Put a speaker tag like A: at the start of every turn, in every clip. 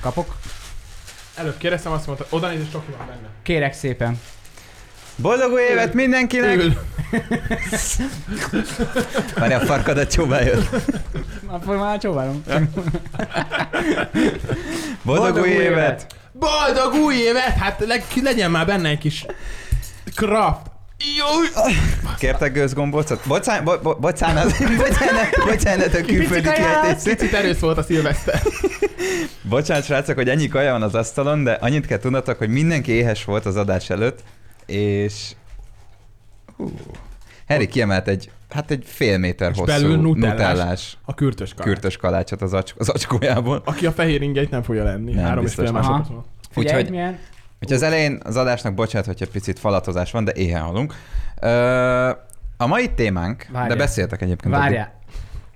A: Kapok?
B: Előbb kérdeztem, azt mondta, oda néz, és csak van benne.
A: Kérek szépen.
C: Boldog új évet mindenkinek!
B: Ül.
C: Várj, a farkadat csóvá jött.
A: Akkor már csóválom.
C: Boldog, új évet!
B: Boldog új évet! Hát leg, legyen már benne egy kis craft. Jó!
C: Kértek gőzgombócot? Bocsán, bo, bo, bocsánat, bocsánat, bocsánat a külföldi kiejtés.
B: Picit erős volt a szilveszter.
C: Bocsánat, srácok, hogy ennyi kaja van az asztalon, de annyit kell tudnatok, hogy mindenki éhes volt az adás előtt, és... Hú. Harry kiemelt egy, hát egy fél méter
B: És
C: hosszú
B: belül nutellás.
C: nutellás
B: A kürtös kalács.
C: kürtös kalácsot az, acsk- az acskójából.
B: Aki a fehér ingeit nem fogja lenni.
C: Nem,
B: Három és
C: biztos
B: fél
C: nem.
B: másodperc
A: Aha.
B: van.
A: Figyelj, Úgyhogy...
C: Úgyhogy-
A: milyen
C: Úgyhogy az elején az adásnak bocsánat, hogyha picit falatozás van, de éhen halunk. Ö, a mai témánk,
A: Várjál.
C: de beszéltek egyébként.
A: Várjál.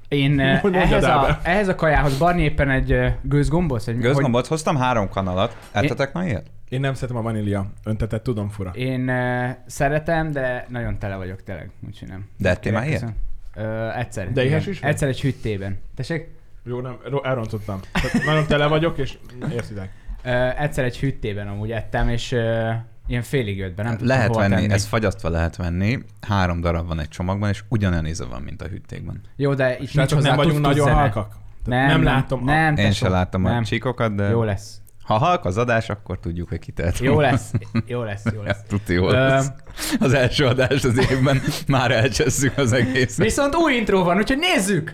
A: Én eh,
B: Mondjad
A: ehhez
B: el
A: a,
B: be.
A: ehhez a kajához barni éppen egy eh, gőzgombóc, egy
C: Gőzgombot hoztam három kanalat. Ettetek ma ilyet?
B: Én nem szeretem a vanília öntetet, tudom fura.
A: Hogy én eh, szeretem, de nagyon tele vagyok tényleg, úgyhogy nem.
C: De ettél már
A: Kérek,
C: ilyet?
A: köszönöm. Ö, egyszer.
B: De
A: igen.
B: éhes is vagy?
A: Egyszer egy hüttében. Tessék?
B: Jó, nem, ro- elrontottam. Tehát Nagyon tele vagyok, és értitek.
A: Ö, Eh, egyszer egy hüttében amúgy ettem, és ö, ilyen félig jött be, nem tudtam
C: lehet
A: hova
C: venni,
A: tenni.
C: ez fagyasztva lehet venni. Három darab van egy csomagban, és ugyanolyan íze van, mint a hűtékben.
A: Jó, de itt nincs
B: Srácok,
A: hozzá
B: nem vagyunk
A: tuk-tuk
B: nagyon
A: zene.
B: halkak. Tehát
A: Nem,
B: nem
A: nem,
B: látom. a-
A: Nem,
C: Én
A: tesó.
C: se látom
A: nem.
C: a csíkokat, de
A: Jó lesz.
C: ha halk az adás, akkor tudjuk, hogy kitelt.
A: Jó lesz. Jó lesz, jó lesz.
C: Tuti, jó
A: Ö,
C: lesz. Az első adás az évben már elcsesszük az egészet.
A: Viszont új intro van, úgyhogy nézzük!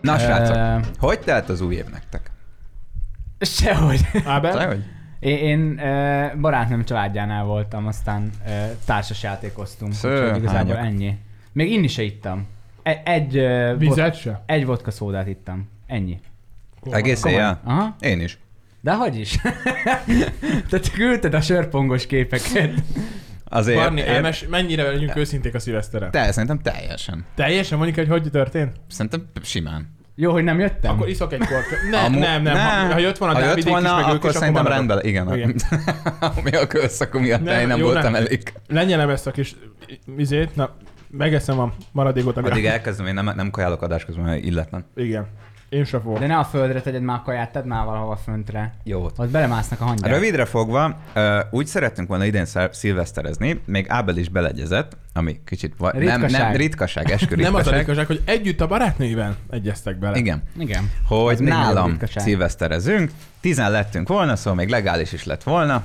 C: Na srácok,
A: Ö,
C: hogy telt az új év nektek? Szóval,
A: Sehogy.
B: Ábel?
C: Dehogy?
A: Én, én ö, barátnőm családjánál voltam, aztán ö, társasjátékoztunk,
C: Sző,
A: úgyhogy igazából
C: hányak?
A: ennyi. Még inni se ittam. E- egy, ö,
B: Vizet se?
A: egy vodka szódát ittam. Ennyi.
C: Egész éjjel?
A: Aha.
C: Én is.
A: De hogy is? Tehát küldted a sörpongos képeket.
C: Azért.
B: Barni,
C: én-
B: elmes, mennyire legyünk őszinték a szilveszterre?
C: Te, szerintem teljesen.
B: Teljesen mondjuk, hogy hogy történt?
C: Szerintem simán.
A: Jó, hogy nem jöttem.
B: Akkor iszok egy kort. Nem,
C: Amú-
B: nem, nem. Ha, ha jött volna
C: ha
B: a
C: jött
B: Dávidék is,
C: volna,
B: meg ők
C: akkor
B: is, akkor
C: szerintem
B: maradok.
C: rendben. Igen.
B: Igen.
C: Ami a kölszakú miatt
B: Nem,
C: nem, én nem
B: jó,
C: voltam
B: nem.
C: elég.
B: Lenyelem ezt a kis izét, na, megeszem a maradékot, ami...
C: Addig elkezdem, én nem, nem kajálok adás közben, mert illetlen.
B: Igen. Én se fogok.
A: De ne a földre tegyed már a kaját, tedd már valahova föntre.
C: Jó volt.
A: Ott belemásznak a hangyák.
C: Rövidre fogva, ö, úgy szerettünk volna idén szá- szilveszterezni, még Ábel is beleegyezett, ami kicsit va- Nem, nem,
A: Ritkaság.
C: ritkaság, eskü
B: Nem az a
C: ritkaság.
B: ritkaság, hogy együtt a barátnőivel egyeztek bele.
C: Igen.
A: Igen.
C: hogy
A: még nagyobb
C: nálam
A: ritkaság.
C: szilveszterezünk, 10 lettünk volna, szóval még legális is lett volna.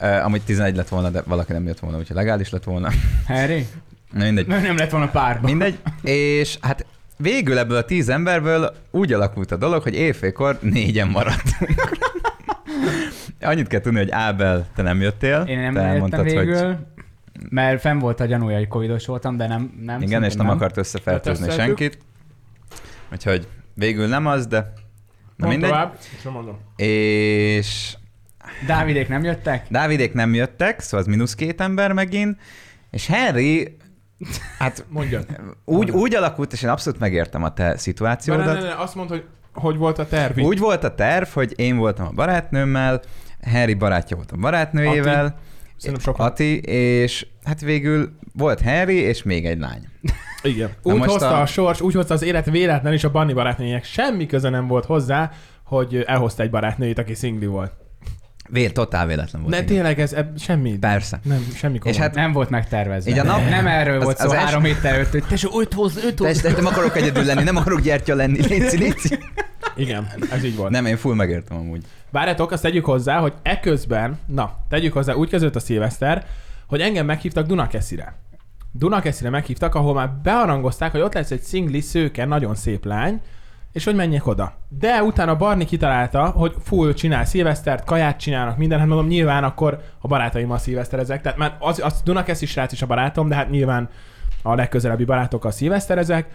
C: Uh, amúgy 11 lett volna, de valaki nem jött volna, úgyhogy legális lett volna.
A: Harry?
C: Na mindegy.
A: Nem, nem lett volna párban.
C: Mindegy. És hát végül ebből a 10 emberből úgy alakult a dolog, hogy éjfélkor négyen maradtunk. Annyit kell tudni, hogy Ábel, te nem jöttél.
A: Én
C: te
A: nem eljöttem
C: hogy...
A: végül, mert fenn volt a gyanúja, hogy covidos voltam, de nem. nem
C: Igen, és
A: szerintem
C: nem, akart összefertőzni
B: Hát ezt
C: senkit. Úgyhogy végül nem az, de... Na
B: Mondd
C: mindegy.
B: tovább, és nem mondom.
C: És
A: Dávidék nem jöttek?
C: Dávidék nem jöttek, szóval az mínusz két ember megint, és Henry, hát
B: Mondjad.
C: úgy, úgy alakult, és én abszolút megértem a te
B: Ne, Szóval ne, ne,
C: szituációdat.
B: ne, azt mondd, hogy hogy volt a tervi.
C: Úgy volt a terv, hogy én voltam a barátnőmmel, Henry barátja volt a barátnőjével,
B: Szerintem sokan.
C: Ati, és hát végül volt Henry, és még egy lány.
B: Igen.
C: Na
B: Úgy
C: most
B: hozta a...
C: a-
B: a sors, úgy hozta az élet véletlen, és a Banni barátnőjének semmi köze nem volt hozzá, hogy elhozta egy barátnőjét, aki szingli volt.
C: Vél, totál véletlen volt.
B: Ne,
C: igen.
B: tényleg ez, eb, semmi.
C: Persze.
B: Nem, semmi komoly.
C: És hát
A: Nem volt megtervezve.
C: Így a nap-
A: Nem erről
C: az-
A: volt szó
C: az első-
A: három héttel előtt, hogy tesó, őt hoz, őt hoz.
C: Persze, nem akarok egyedül lenni, nem akarok gyertya lenni, léci, léci.
B: Igen, ez így volt.
C: Nem, én full megértem amúgy.
B: Várjátok, azt tegyük hozzá, hogy eközben, na, tegyük hozzá, úgy kezdődött a szilveszter, hogy engem meghívtak Dunakeszire. Dunakeszire meghívtak, ahol már bearangozták, hogy ott lesz egy szingli szőke, nagyon szép lány, és hogy menjek oda. De utána Barni kitalálta, hogy full csinál szilvesztert, kaját csinálnak, minden, hát mondom, nyilván akkor a barátaim a szilveszterezek. Tehát már az, az Dunakeszi srác is a barátom, de hát nyilván a legközelebbi barátok a szilveszterezek.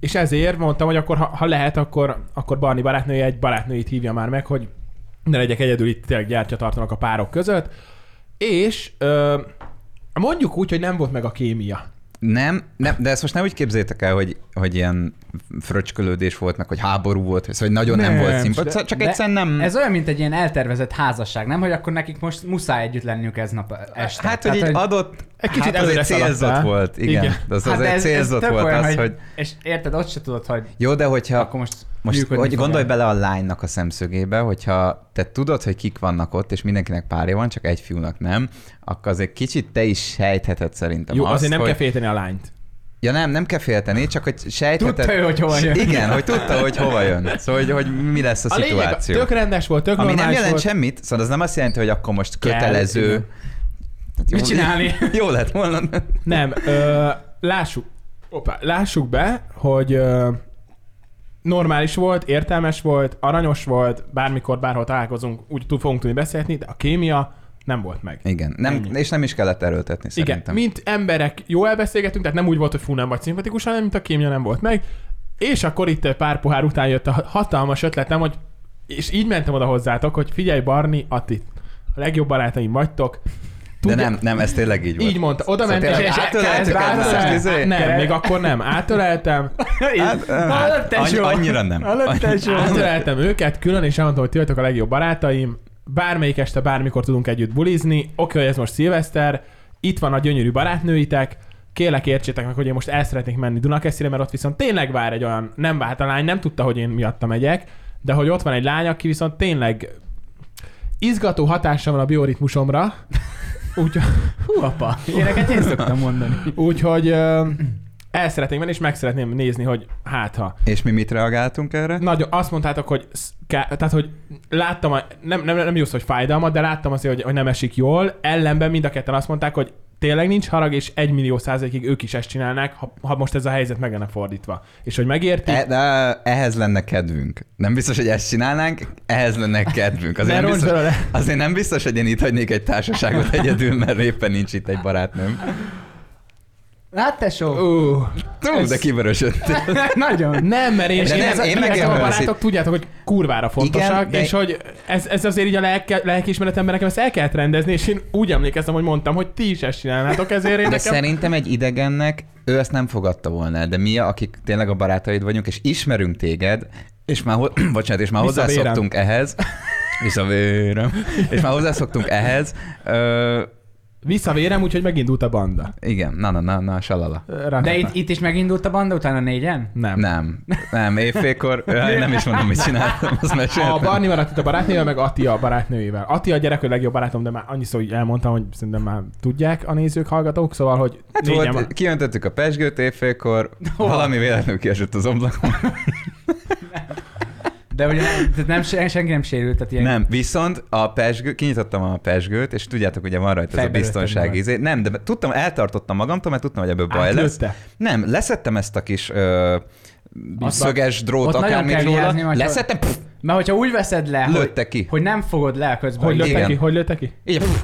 B: És ezért mondtam, hogy akkor ha, ha lehet, akkor, akkor Barni barátnője egy barátnőit hívja már meg, hogy ne legyek egyedül, itt tényleg gyártya tartanak a párok között. És ö, Mondjuk úgy, hogy nem volt meg a kémia.
C: Nem, nem, de ezt most nem úgy képzétek el, hogy, hogy ilyen fröcskölődés volt, meg hogy háború volt, szóval hogy nagyon nem,
B: Nem,
C: nem volt szimpatikus. Csak
A: De
C: egyszerűen nem...
A: Ez olyan, mint egy ilyen eltervezett házasság, nem? Hogy akkor nekik most muszáj együtt lenniük ez nap este.
C: Hát, hogy így
A: Tehát,
C: adott,
B: Egy kicsit
C: hát azért
B: előre
C: célzott
B: szaladtál.
C: volt, igen.
B: Igen.
C: igen. Az hát azért ez, célzott
A: tök
C: volt
A: olyan,
C: az, hogy...
A: És érted, ott se tudod, hogy
C: Jó, de hogyha...
A: akkor most
C: Most
A: működni
C: hogy
A: fog
C: gondolj
A: el.
C: bele a lánynak a szemszögébe, hogyha te tudod, hogy kik vannak ott, és mindenkinek párja van, csak egy fiúnak nem, akkor azért kicsit te is sejtheted szerintem
B: Jó,
C: azt,
B: azért nem
C: hogy...
B: kell félteni a lányt.
C: Ja nem, nem kell félteni, csak hogy sejtheted...
A: Tudta ő, hogy hova jön.
C: Igen, hogy tudta, hogy hova jön. Szóval, hogy, hogy mi lesz a,
B: A lényeg,
C: szituáció.
B: tök rendes volt, tök
C: Ami nem
B: normális
C: jelent
B: volt.
C: semmit, szóval az nem azt jelenti, hogy akkor most
B: Kell,
C: kötelező...
B: igen.
C: Jó-
A: Mit csinálni?
C: Jó lett volna.
B: Nem, ö, lássuk, opa, lássuk be, hogy ö, normális volt, értelmes volt, aranyos volt, bármikor, bárhol találkozunk, úgy tud, fogunk tudni beszélni, de a kémia nem volt meg.
C: Igen, nem, és nem is kellett erőltetni
B: Igen,
C: szerintem.
B: mint emberek jó elbeszélgetünk, tehát nem úgy volt, hogy fú, nem vagy szimpatikus, hanem mint a kémia nem volt meg. És akkor itt pár pohár után jött a hatalmas ötletem, hogy és így mentem oda hozzátok, hogy figyelj Barni, Atti, a legjobb barátaim vagytok.
C: De
B: Tudja-
C: nem, nem, ez tényleg így volt.
B: Így mondta, oda
C: Szóval
B: mentem,
C: tényleg
B: és
C: átöleltük
B: átöleltem.
C: egymást, izé?
B: Nem, még akkor nem. Átöleltem,
C: Hát,
A: Hallott,
C: hát, annyi,
A: tesó!
C: annyira nem.
A: Hallott, tesó!
B: átöleltem őket külön, és elmondtam, hogy ti vagytok a legjobb barátaim. Bármelyik este, bármikor tudunk együtt bulizni. Oké, hogy ez most szilveszter, itt van a gyönyörű barátnőitek, kérlek értsétek meg, hogy én most el szeretnék menni Dunakeszire, mert ott viszont tényleg vár egy olyan, nem várt a lány, nem tudta, hogy én miatta megyek, de hogy ott van egy lány, aki viszont tényleg izgató hatása van a bioritmusomra, úgyhogy
A: Hú, apa! Ilyeneket én szoktam mondani.
B: Úgyhogy ö, el szeretnénk menni, és meg szeretném nézni, hogy hát ha.
C: És mi mit reagáltunk erre?
B: Nagyon, azt mondtátok, hogy, sz- ká- tehát, hogy láttam, a, nem, nem, nem jussz, hogy fájdalmat, de láttam azért, hogy, hogy nem esik jól. Ellenben mind a ketten azt mondták, hogy tényleg nincs harag, és egy millió százalékig ők is ezt csinálnák, ha, ha most ez a helyzet meg lenne fordítva. És hogy megérti,
C: E, de ehhez lenne kedvünk. Nem biztos, hogy ezt csinálnánk, ehhez lenne kedvünk. Azért
B: ne
C: nem,
B: roncs
C: biztos,
B: belőle.
C: azért nem biztos, hogy én itt hagynék egy társaságot egyedül, mert éppen nincs itt egy barátnőm.
A: Hát tesó!
B: Ú,
C: Tú, de kivörösödtél.
A: Nagyon!
B: nem, mert én,
C: De
B: én,
C: nem,
B: ez a-
C: én
B: nekem a
C: megértem,
B: barátok, tudjátok, hogy kurvára fontosak,
C: de-
B: Igen, és hogy ez, ez azért így a lelke, lelkiismeretemben nekem ezt el kellett rendezni, és én úgy emlékeztem, hogy mondtam, hogy ti is ezt csinálnátok, ezért én
C: De
B: nekem
C: szerintem egy idegennek ő ezt nem fogadta volna el, de mi, akik tényleg a barátaid vagyunk, és ismerünk téged, és már, ho- bocsánat, és már
B: Visszavérem.
C: hozzászoktunk ehhez, visszavérem, és már hozzászoktunk ehhez, ö,
B: Visszavérem, úgyhogy megindult a banda.
C: igen, na, na, na, na, salala.
B: Rá-
A: De itt, itt is megindult a banda utána négyen?
B: nem.
C: Nem, nem, évfélkor, Jaj, nem is mondom, mit csináltam, az
B: A
C: mesélt.
B: Barni maradt itt a barátnővel, meg Ati a barátnőjével. Ati a gyerek, hogy legjobb barátom, de már annyiszor hogy elmondtam, hogy szerintem már tudják a nézők, hallgatók, szóval, hogy
C: Hát
B: négyen van.
C: volt, kiöntöttük a pesgőt évfélkor,
A: Hova?
C: valami véletlenül kiesett az ablakon.
A: De ugye nem, tehát nem, se- senki nem sérült, tehát ilyen...
C: Nem, viszont a pesgő, kinyitottam a pesgőt, és tudjátok, ugye van rajta ez a
A: Fejbe lőttem
C: biztonsági
A: magad.
C: izé. Nem, de tudtam, eltartottam magamtól, mert tudtam, hogy ebből baj lesz.
B: Átlőtte.
C: Nem, leszettem ezt a kis ö,
A: Azt
C: szöges drót,
A: ott nagyon
C: akármit
A: kell
C: róla.
A: vigyázni, majd-
C: Leszettem, pff,
A: Mert hogyha úgy veszed le, hogy,
C: lőtte ki.
A: hogy nem fogod le a közben,
B: Hogy lőtte
C: Igen.
B: ki? Hogy lőtte ki?
C: Így, pff,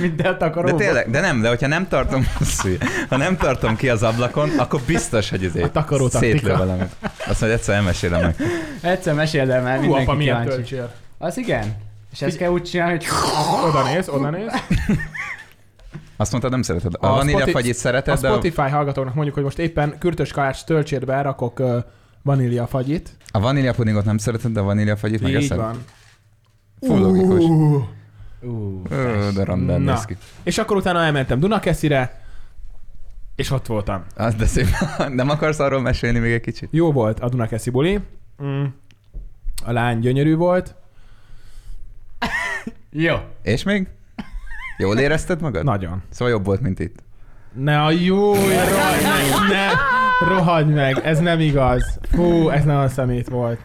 A: minden a
C: de
A: takaróba.
C: tényleg, de nem, de hogyha nem tartom, szúj, ha nem tartom ki az ablakon, akkor biztos, hogy izé,
B: A takaró taktika.
C: szétlő valamit. Azt majd egyszer elmesélem meg.
A: Egyszer meséld el, mert
B: Hú, apa,
A: mindenki
B: milyen
A: kíváncsi.
B: töltsér.
A: Az igen. És ezt kell úgy csinálni, hogy
B: Oda néz, oda néz.
C: Azt mondtad, nem szereted. A,
B: A
C: vanília
B: Spoti-
C: fagyit
B: A
C: szereted, de a,
B: Spotify hallgatóknak mondjuk, hogy most éppen kürtös kalács töltsérbe rakok ö, vanília fagyit.
C: a vanília pudingot nem szereted, de a vanília fagyit meg
B: Így
C: eszed?
B: van.
C: Fú, logikus.
B: Ú,
A: Ú,
C: Ö, De randán
B: Na.
C: néz ki.
B: És akkor utána elmentem Dunakeszire, és ott voltam.
C: Az de szép. Nem akarsz arról mesélni még egy kicsit?
B: Jó volt a Dunakeszi buli. Mm. A lány gyönyörű volt.
A: Jó.
C: És még? Jól érezted magad?
B: Nagyon.
C: Szóval jobb volt, mint itt.
B: Ne a jó, rohadj meg, ne! Rohadj meg, ez nem igaz. Fú, ez nagyon szemét volt.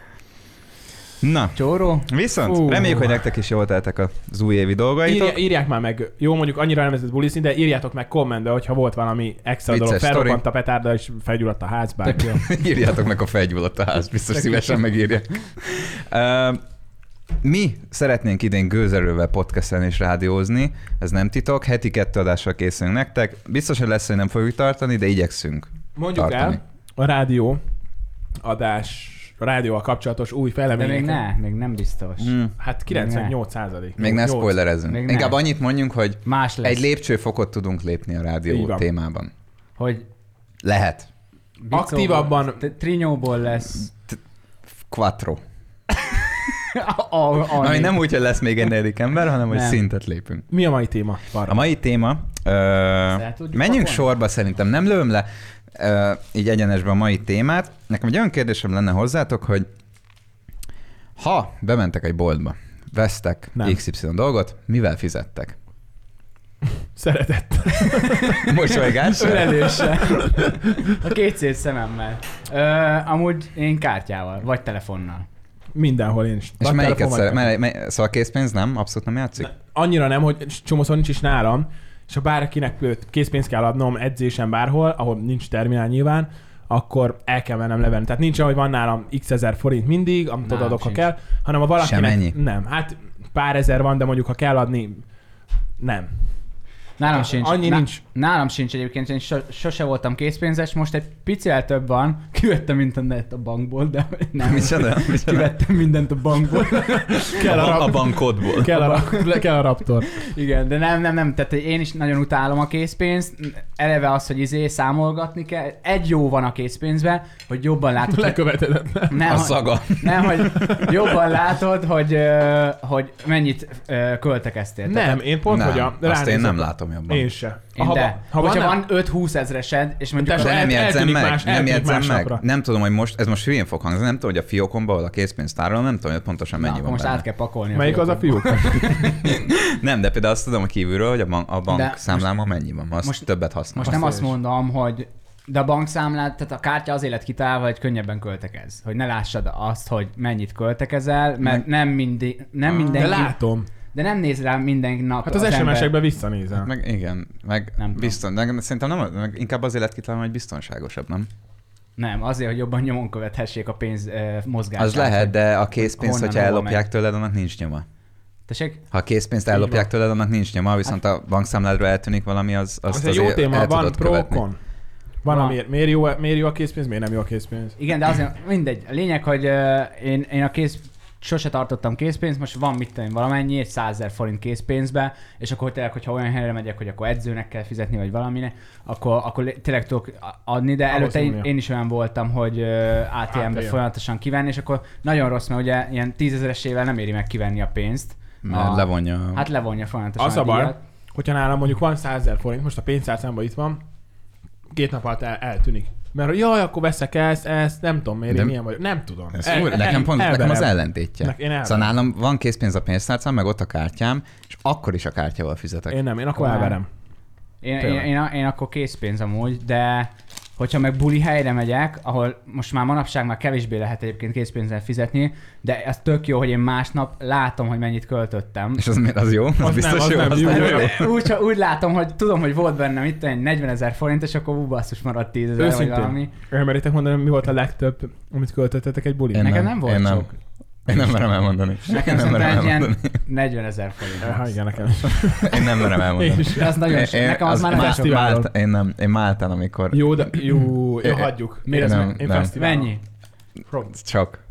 C: Na,
A: Csóró?
C: viszont
B: Fú.
C: reméljük, hogy nektek is jól teltek az újévi dolgaitok.
B: Írja, írják már meg, jó mondjuk annyira nem ez bulizni, de írjátok meg kommentbe, hogyha volt valami extra
C: Vicces
B: dolog.
C: sztori.
B: Felrobbant a petárda és felgyulladt a ház, bárki.
C: Írjátok meg a fegyulat a ház, biztos szívesen megírja. Ö, Mi szeretnénk idén gőzerővel podcastelni és rádiózni, ez nem titok, heti kettő adással készülünk nektek. Biztos, hogy lesz, hogy nem fogjuk tartani, de igyekszünk.
B: Mondjuk
C: Tartani.
B: el, a rádió adás rádióval kapcsolatos új
A: De
B: fejlemények.
A: még ne, még nem biztos.
C: Mm.
B: Hát 98 százalék.
C: Még ne
B: 8.
C: spoilerezünk.
A: Még ne.
C: Inkább annyit mondjunk, hogy
A: Más lesz,
C: egy lépcsőfokot tudunk lépni a
B: Így
C: rádió
B: van.
C: témában.
A: hogy
C: Lehet.
A: bicóból-
B: Aktívabban-
A: t- trinyóból lesz.
C: Quattro.
A: A, a, a,
C: Ami nem úgy, hogy lesz még egy negyedik ember, hanem hogy
A: Nem.
C: szintet lépünk.
B: Mi a mai téma? Barra.
C: A mai téma... Ö,
A: tudjuk pakolni?
C: menjünk sorba szerintem, nem lövöm le ö, így egyenesbe a mai témát. Nekem egy olyan kérdésem lenne hozzátok, hogy ha bementek egy boltba, vesztek
B: Nem.
C: XY dolgot, mivel fizettek?
B: Szeretett.
C: Mosolygás?
A: Ölelése. A két szét szememmel. Ö, amúgy én kártyával, vagy telefonnal.
B: Mindenhol én is.
C: És
B: Vagy
C: melyiket
B: telefon, vagy
C: szeret? Mely, mely, szóval készpénz nem? Abszolút nem játszik?
B: annyira nem, hogy csomószor nincs is nálam, és ha bárkinek például készpénzt kell adnom edzésen bárhol, ahol nincs terminál nyilván, akkor el kell vennem levenni. Tehát nincs, hogy van nálam x ezer forint mindig, amit
A: Nálam
B: adok, ha
A: sincs.
B: kell, hanem ha valakinek...
C: Sem ennyi?
B: Nem, hát pár ezer van, de mondjuk ha kell adni, nem.
A: Nálam sincs.
B: Annyi
A: Ná-
B: nincs.
A: Nálam sincs egyébként, én so- sose voltam készpénzes, most egy picivel több van. Kivettem mindent a bankból, de nem.
C: Micsoda? Micsoda?
A: Kivettem mindent a bankból.
B: Kell a, rap,
C: bankodból.
B: kell, a, rap- kell a raptor.
A: Igen, de nem, nem, nem, tehát hogy én is nagyon utálom a készpénzt. Eleve az, hogy izé számolgatni kell. Egy jó van a készpénzben, hogy jobban látod, hogy
B: Lekövetedetlen.
A: nem,
C: A
A: hogy-
C: szaga.
A: nem, hogy jobban látod, hogy, ö, hogy mennyit ö, költekeztél.
B: Nem, én pont,
C: nem,
B: hogy a...
C: azt én
B: ránézek-
C: nem látom jobban.
B: Én se.
A: Én
B: ha,
A: de.
B: ha
A: Hogyha
B: van,
A: van 5-20 ezresed, és mondjuk...
B: Tesó,
A: a-
C: De nem
B: El-
C: jegyzem
B: eltűnik
C: meg,
B: más-
C: nem
B: eltűnik
C: jegyzem meg.
B: másnapra.
C: Nem tudom, hogy most, ez most hülyén fog hangzni, nem tudom, hogy a fiókomban, ahol a készpénztárral, nem tudom, hogy pontosan
A: Na,
C: mennyi
A: akkor
C: van
A: most
C: benne.
A: át kell pakolni.
B: Melyik az a
A: fiókot.
B: fiúk?
C: Nem, de például azt tudom hogy kívülről, hogy a, bank, a bank
A: De
C: számlámon mennyi van, azt
A: most-
C: most, többet használom.
A: Most nem
B: Azt
A: azt
B: én is.
A: mondom, hogy de a bankszámlát, tehát a kártya azért lett kitalálva, hogy könnyebben költekez. Hogy ne lássad azt, hogy mennyit költekezel, mert
C: Meg-
A: nem, mindig, nem
B: Ah. De
A: mindenki...
B: látom.
A: de nem néz rá minden nap
B: Hát az
A: ember.
B: SMS-ekben visszanézem.
C: Meg igen, meg
A: Nem
C: nem
A: tudom.
C: bizton, meg, szerintem nem, meg inkább azért lett kitalálva, hogy biztonságosabb, nem?
A: Nem, azért, hogy jobban nyomon követhessék a pénz eh, mozgását.
C: Az lehet, de a készpénzt,
A: honnan,
C: hogyha
A: hova
C: ellopják tőled, annak nincs nyoma.
A: Tessék?
C: Ha a készpénzt
B: van. Hát-
C: ellopják tőled, annak nincs nyoma, viszont a bankszámládról eltűnik valami, az azt
B: Az
C: az
B: egy jó
C: azért
B: téma,
C: el
B: van
C: tudod követni.
B: prókon. Van,
A: Van.
B: amiért miért jó, miért jó a készpénz, miért nem jó a készpénz.
A: Igen, de azért mindegy. A lényeg, hogy ö, én, én a kész sose tartottam készpénzt, most van mit tenni valamennyi, egy 100 000 forint készpénzbe, és akkor tényleg, hogyha olyan helyre megyek, hogy akkor edzőnek kell fizetni, vagy valaminek, akkor, akkor lé- tényleg tudok adni, de előtte én,
B: Valószínűleg.
A: én, is olyan voltam, hogy ö, ATM-be
B: ATM.
A: folyamatosan kivenni, és akkor nagyon rossz, mert ugye ilyen tízezeresével nem éri meg kivenni a pénzt.
C: Mert
B: Ah.
A: A-
C: levonja.
A: Hát levonja folyamatosan
B: Az a baj.
A: díjat.
B: Hogyha nálam mondjuk van 100 000 forint, most a pénztárcámban itt van, két nap alatt el, eltűnik. Mert hogy jaj, akkor veszek ezt, ezt, nem tudom miért,
C: De-
B: én milyen vagyok. Nem tudom.
C: Ez el, nekem pont nekem az
B: elverem.
C: ellentétje.
B: Nek- én elverem.
C: szóval nálam van készpénz a pénztárcám, meg ott a kártyám, és akkor is a kártyával fizetek.
B: Én nem, én akkor
A: Komolyan.
B: elverem.
A: Én, én,
B: Tényleg.
A: én, a- én akkor készpénz amúgy, de hogyha meg buli helyre megyek, ahol most már manapság már kevésbé lehet egyébként készpénzzel fizetni, de ez tök jó, hogy én másnap látom, hogy mennyit költöttem.
C: És az, miért- az jó? Az,
B: nem,
C: biztos
B: az
C: jó?
B: nem jó.
C: jó.
A: Úgy, ha úgy látom, hogy tudom, hogy volt bennem itt egy 40 ezer forint, és akkor ú, basszus maradt 10 ezer vagy valami.
B: Őszintén. Elmeritek mondani, mi volt a legtöbb, amit költöttetek egy bulin?
C: Én
A: Nekem
C: nem,
A: nem volt
C: én nem.
A: sok.
C: Én nem merem elmondani.
A: Nekem
C: Én nem merem
A: szerintem egy ilyen
C: elmondani.
A: 40 ezer forint.
B: Ha
A: volt.
B: igen, nekem.
C: Én nem merem
B: Én
C: elmondani.
B: is.
A: De az nagyon sok.
C: Én-
A: Nekem az, már nem
C: Málta-
A: sok.
B: fesztiválon.
C: Málta- Én nem, én Máltán, amikor
B: Jó, de jó, jó,
C: Én-
B: hagyjuk.
C: én
B: Miért ez
C: nem-
B: meg- én
C: nem.
B: fesztiválon.
A: Mennyi?
C: csak...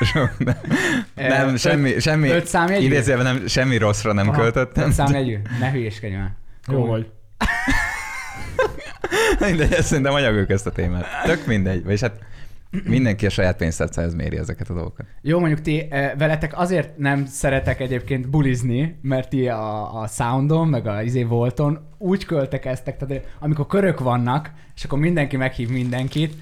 C: Sok, nem, nem
A: öt-
C: semmi, semmi,
A: öt számjegyű?
C: idézőjelben nem, semmi rosszra nem
B: Aha.
C: költöttem.
A: Számjegyű? Ne hülyéskedj már.
B: Jó vagy.
C: Mindegy, ezt szerintem anyagok ezt a témát. Tök mindegy. Vagyis hát mindenki a saját pénztárcához méri ezeket a dolgokat.
A: Jó, mondjuk ti eh, veletek azért nem szeretek egyébként bulizni, mert ti a, a Soundon, meg a izé Volton úgy költekeztek, tehát amikor körök vannak, és akkor mindenki meghív mindenkit,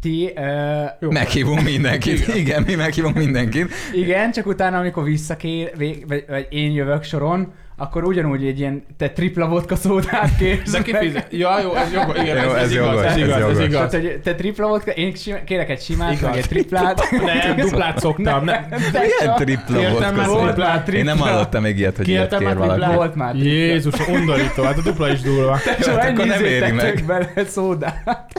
A: ti eh, ö,
B: Jó.
C: Meghívunk mindenkit. Igen, mi meghívunk mindenkit.
A: igen, csak utána, amikor visszakér, vég, vagy, vagy én jövök soron, akkor ugyanúgy egy ilyen te tripla vodka szódát kérsz.
B: De kifizet. Ja, jó, ez jogos. Igen,
C: Jó,
B: ez, ez,
C: ez
B: igaz,
C: jogos,
B: ez
C: ez
B: igaz, ez
C: jogos.
A: Tehát,
B: igaz.
A: hogy te tripla vodka, én sima- kérek egy simát,
B: Igaz.
A: meg egy triplát.
B: Nem, duplát szoktam. Nem.
C: Milyen tripla
B: Kértem már
C: volt
B: volt
C: köszönöm.
B: már
C: Én nem
B: tripla.
C: hallottam még ilyet, hogy ilyet
B: Kértem
C: kér
A: hát,
B: már triplát.
C: valaki.
A: Volt már tripla.
B: Jézus, undorító, hát a dupla is durva.
C: Jó,
A: Csak
C: hát
A: ennyi
C: akkor nem éri
A: izétek
C: meg.
A: bele szódát.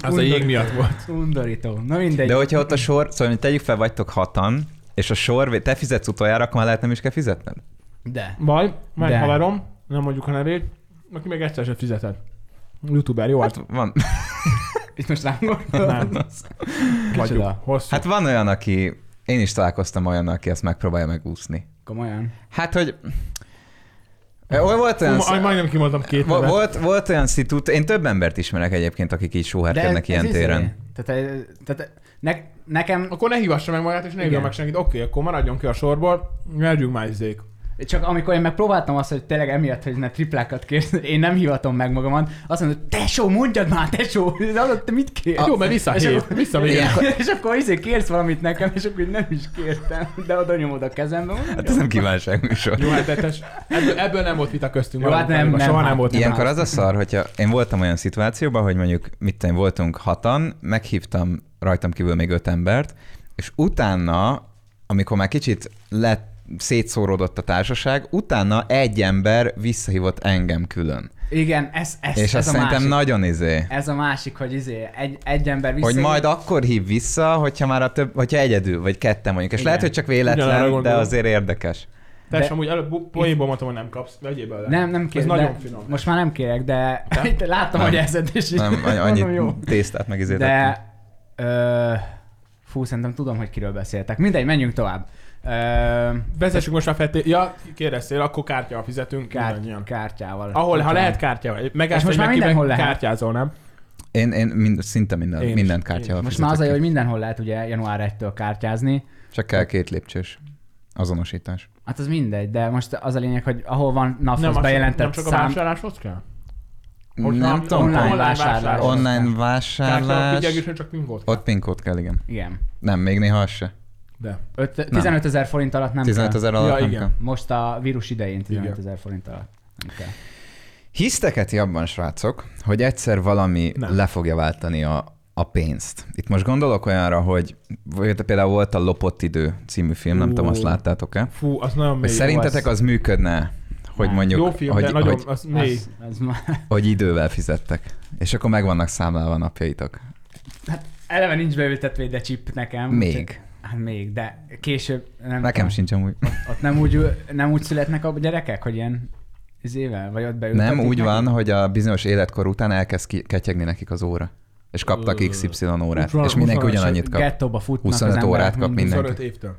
B: Az a jég miatt volt.
A: Undorító. Na mindegy.
C: De hogyha ott a sor, szóval hogy tegyük fel, vagytok hatan, és a sor, te fizetsz utoljára, akkor már lehet nem is kell fizetned.
A: De.
B: Vaj,
A: De.
B: meghaverom, hát
C: Hát
B: nem mondjuk a nevét, aki meg egyszer sem fizetett. Youtuber, jó, hát
C: Van.
A: Itt most rám
B: Nem.
A: gondolsz?
B: Vagyunk.
A: Kicsoda.
B: Hosszú.
C: Hát van olyan, aki... Én is találkoztam olyannal, aki ezt megpróbálja megúszni.
A: Komolyan.
C: Hát, hogy... Ö, Volt olyan,
B: Ma, majdnem kimondtam két
C: Vo-
B: nevet.
C: Volt, volt olyan szitút, én több embert ismerek egyébként, akik így sóherkednek ilyen
A: izé.
C: téren.
A: Tehát, eh, tehát ne, nekem
B: Akkor ne hívassa meg magát, és ne hívja
A: Igen.
B: meg senkit. Oké, okay, akkor maradjon ki a sorból, merjünk már izék.
A: Csak amikor én megpróbáltam azt, hogy tényleg emiatt, hogy ne triplákat kérsz, én nem hivatom meg magamat, azt mondod, tesó, mondjad már, tesó, Ez alatt te mit kérsz?
B: Jó, mert vissza
A: És
B: hív,
A: akkor-
B: vissza még.
A: És akkor- És akkor izé kérsz valamit nekem, és akkor így nem is kértem, de oda nyomod a kezembe. mondom,
C: Hát
A: jó.
C: ez nem kívánság műsor.
B: Jó, hát ez- ebből, ebből nem volt vita köztünk.
A: Jó, hát
B: maradjunk
A: nem,
B: annyiba,
A: nem,
B: soha
A: hát
B: nem volt
C: Ilyenkor az a szar, hogyha én voltam olyan szituációban, hogy mondjuk mit tudom, én, voltunk hatan, meghívtam rajtam kívül még öt embert, és utána, amikor már kicsit lett, szétszóródott a társaság, utána egy ember visszahívott engem külön.
A: Igen, ez, ez,
C: Ez, és
A: ez
C: azt
A: a
C: szerintem
A: másik.
C: nagyon izé.
A: Ez a másik, hogy izé, egy, egy ember vissza.
C: Hogy majd akkor hív vissza, hogyha már a több, hogyha egyedül, vagy ketten mondjuk. És
A: Igen.
C: lehet, hogy csak
B: Ugyanarra
C: véletlen, de
B: gondolom.
C: azért érdekes.
B: Te
A: De-
B: sem úgy előbb bu- poénból mondtam, hogy nem kapsz, vegyél bele.
A: Nem, nem
B: Ez
A: kérek.
B: nagyon
A: de-
B: finom.
A: Most már nem kérek, de
B: Nem?
A: láttam,
C: Nem.
A: hogy ezed is. így-
C: Nem, annyi-
A: Mondom, jó.
C: annyi tésztát meg izét
A: De, ö, fú, szerintem tudom, hogy kiről beszéltek. Mindegy, menjünk tovább. Ö,
B: Vezessük most a fetté... Ja, kérdeztél, akkor kártyával fizetünk.
A: kárt,
B: mindannyian.
A: kártyával.
B: Ahol, ha
A: Bocsánat.
B: lehet kártyával. Megállsz,
A: És most
B: hogy
A: már
B: meg kibe-
A: mindenhol lehet.
B: Kártyázol, nem?
C: Én, én mind, szinte minden,
B: Én is.
C: minden
B: Én
C: kártyával
A: Most
C: fizetek
A: már az a
C: ki.
A: jó, hogy mindenhol lehet ugye január 1-től kártyázni.
C: Csak kell két lépcsős azonosítás.
A: Hát az mindegy, de most az a lényeg, hogy ahol van
B: Nem,
A: NAV-hoz
B: a-
A: bejelentett
B: nem csak a
A: szám,
B: vásárláshoz kell?
C: Hogy nem tudom,
A: online
C: online,
A: vásárlás.
C: online
B: Kártyával
C: vásárlás,
B: figyelgésnél csak pin volt.
C: ott pinkót kell, igen.
A: igen,
C: Nem, még néha az se.
B: De.
A: Öt- 15 ezer forint alatt nem
C: 15
A: kell.
C: ezer alatt
B: Ja,
C: nem
B: igen.
C: kell.
A: Most a vírus idején 15
B: Igen.
A: ezer forint alatt nem kell.
C: Hisztek-e ti abban, srácok, hogy egyszer valami
B: Nem.
C: nem. le fogja váltani a, a pénzt? Itt most gondolok olyanra, hogy vagy például volt a Lopott Idő című film,
B: Ú.
C: nem tudom, azt láttátok-e?
B: Fú, az nagyon
C: Hogy
B: mély.
C: szerintetek az működne, hogy
A: Nem.
C: mondjuk,
B: Jó film,
C: hogy,
B: de nagyon,
C: hogy,
B: az mély.
A: Az, az ma...
C: hogy idővel fizettek, és akkor meg vannak számlálva a napjaitok.
A: Eleve nincs beültetve ide chip nekem.
C: Még.
A: Hát még, de később nem
C: Nekem
A: tudom.
C: sincs amúgy.
A: Ott nem úgy, nem úgy születnek a gyerekek, hogy ilyen izével, vagy ott beültetik
C: Nem, úgy
A: nekik?
C: van, hogy a bizonyos életkor után elkezd ki- ketyegni nekik az óra. És kaptak
B: Ö,
C: XY órát,
B: huszonöt-
C: és mindenki
B: huszonöt-
C: ugyanannyit kap.
A: Gettóba futnak
C: 25
A: az emberek
C: órát kap
A: mindig.
C: minden.
B: 25 évtől.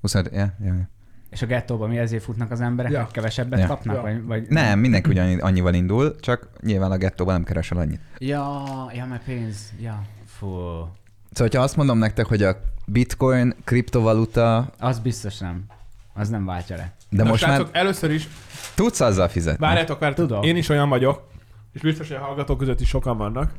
C: 25, ja, ja, ja.
A: És a gettóba mi ezért futnak az emberek,
B: Ja.
A: ja. kevesebbet
C: Ja.
A: ja. kapnak?
B: Ja.
A: Ja. Vagy, vagy...
C: Nem, mindenki ugyan, annyival indul, csak nyilván a gettóban nem keresel annyit.
A: Ja, ja, mert pénz. Ja. Fú.
C: Szóval, ha azt mondom nektek, hogy a bitcoin, kriptovaluta,
A: Az biztos nem. Az nem váltja le.
C: de
B: Na,
C: most
B: srácok,
C: már
B: először is
C: tudsz azzal fizetni.
B: Várjátok, várjátok.
A: Tudom.
B: Én is olyan vagyok, és biztos, hogy a hallgatók között is sokan vannak,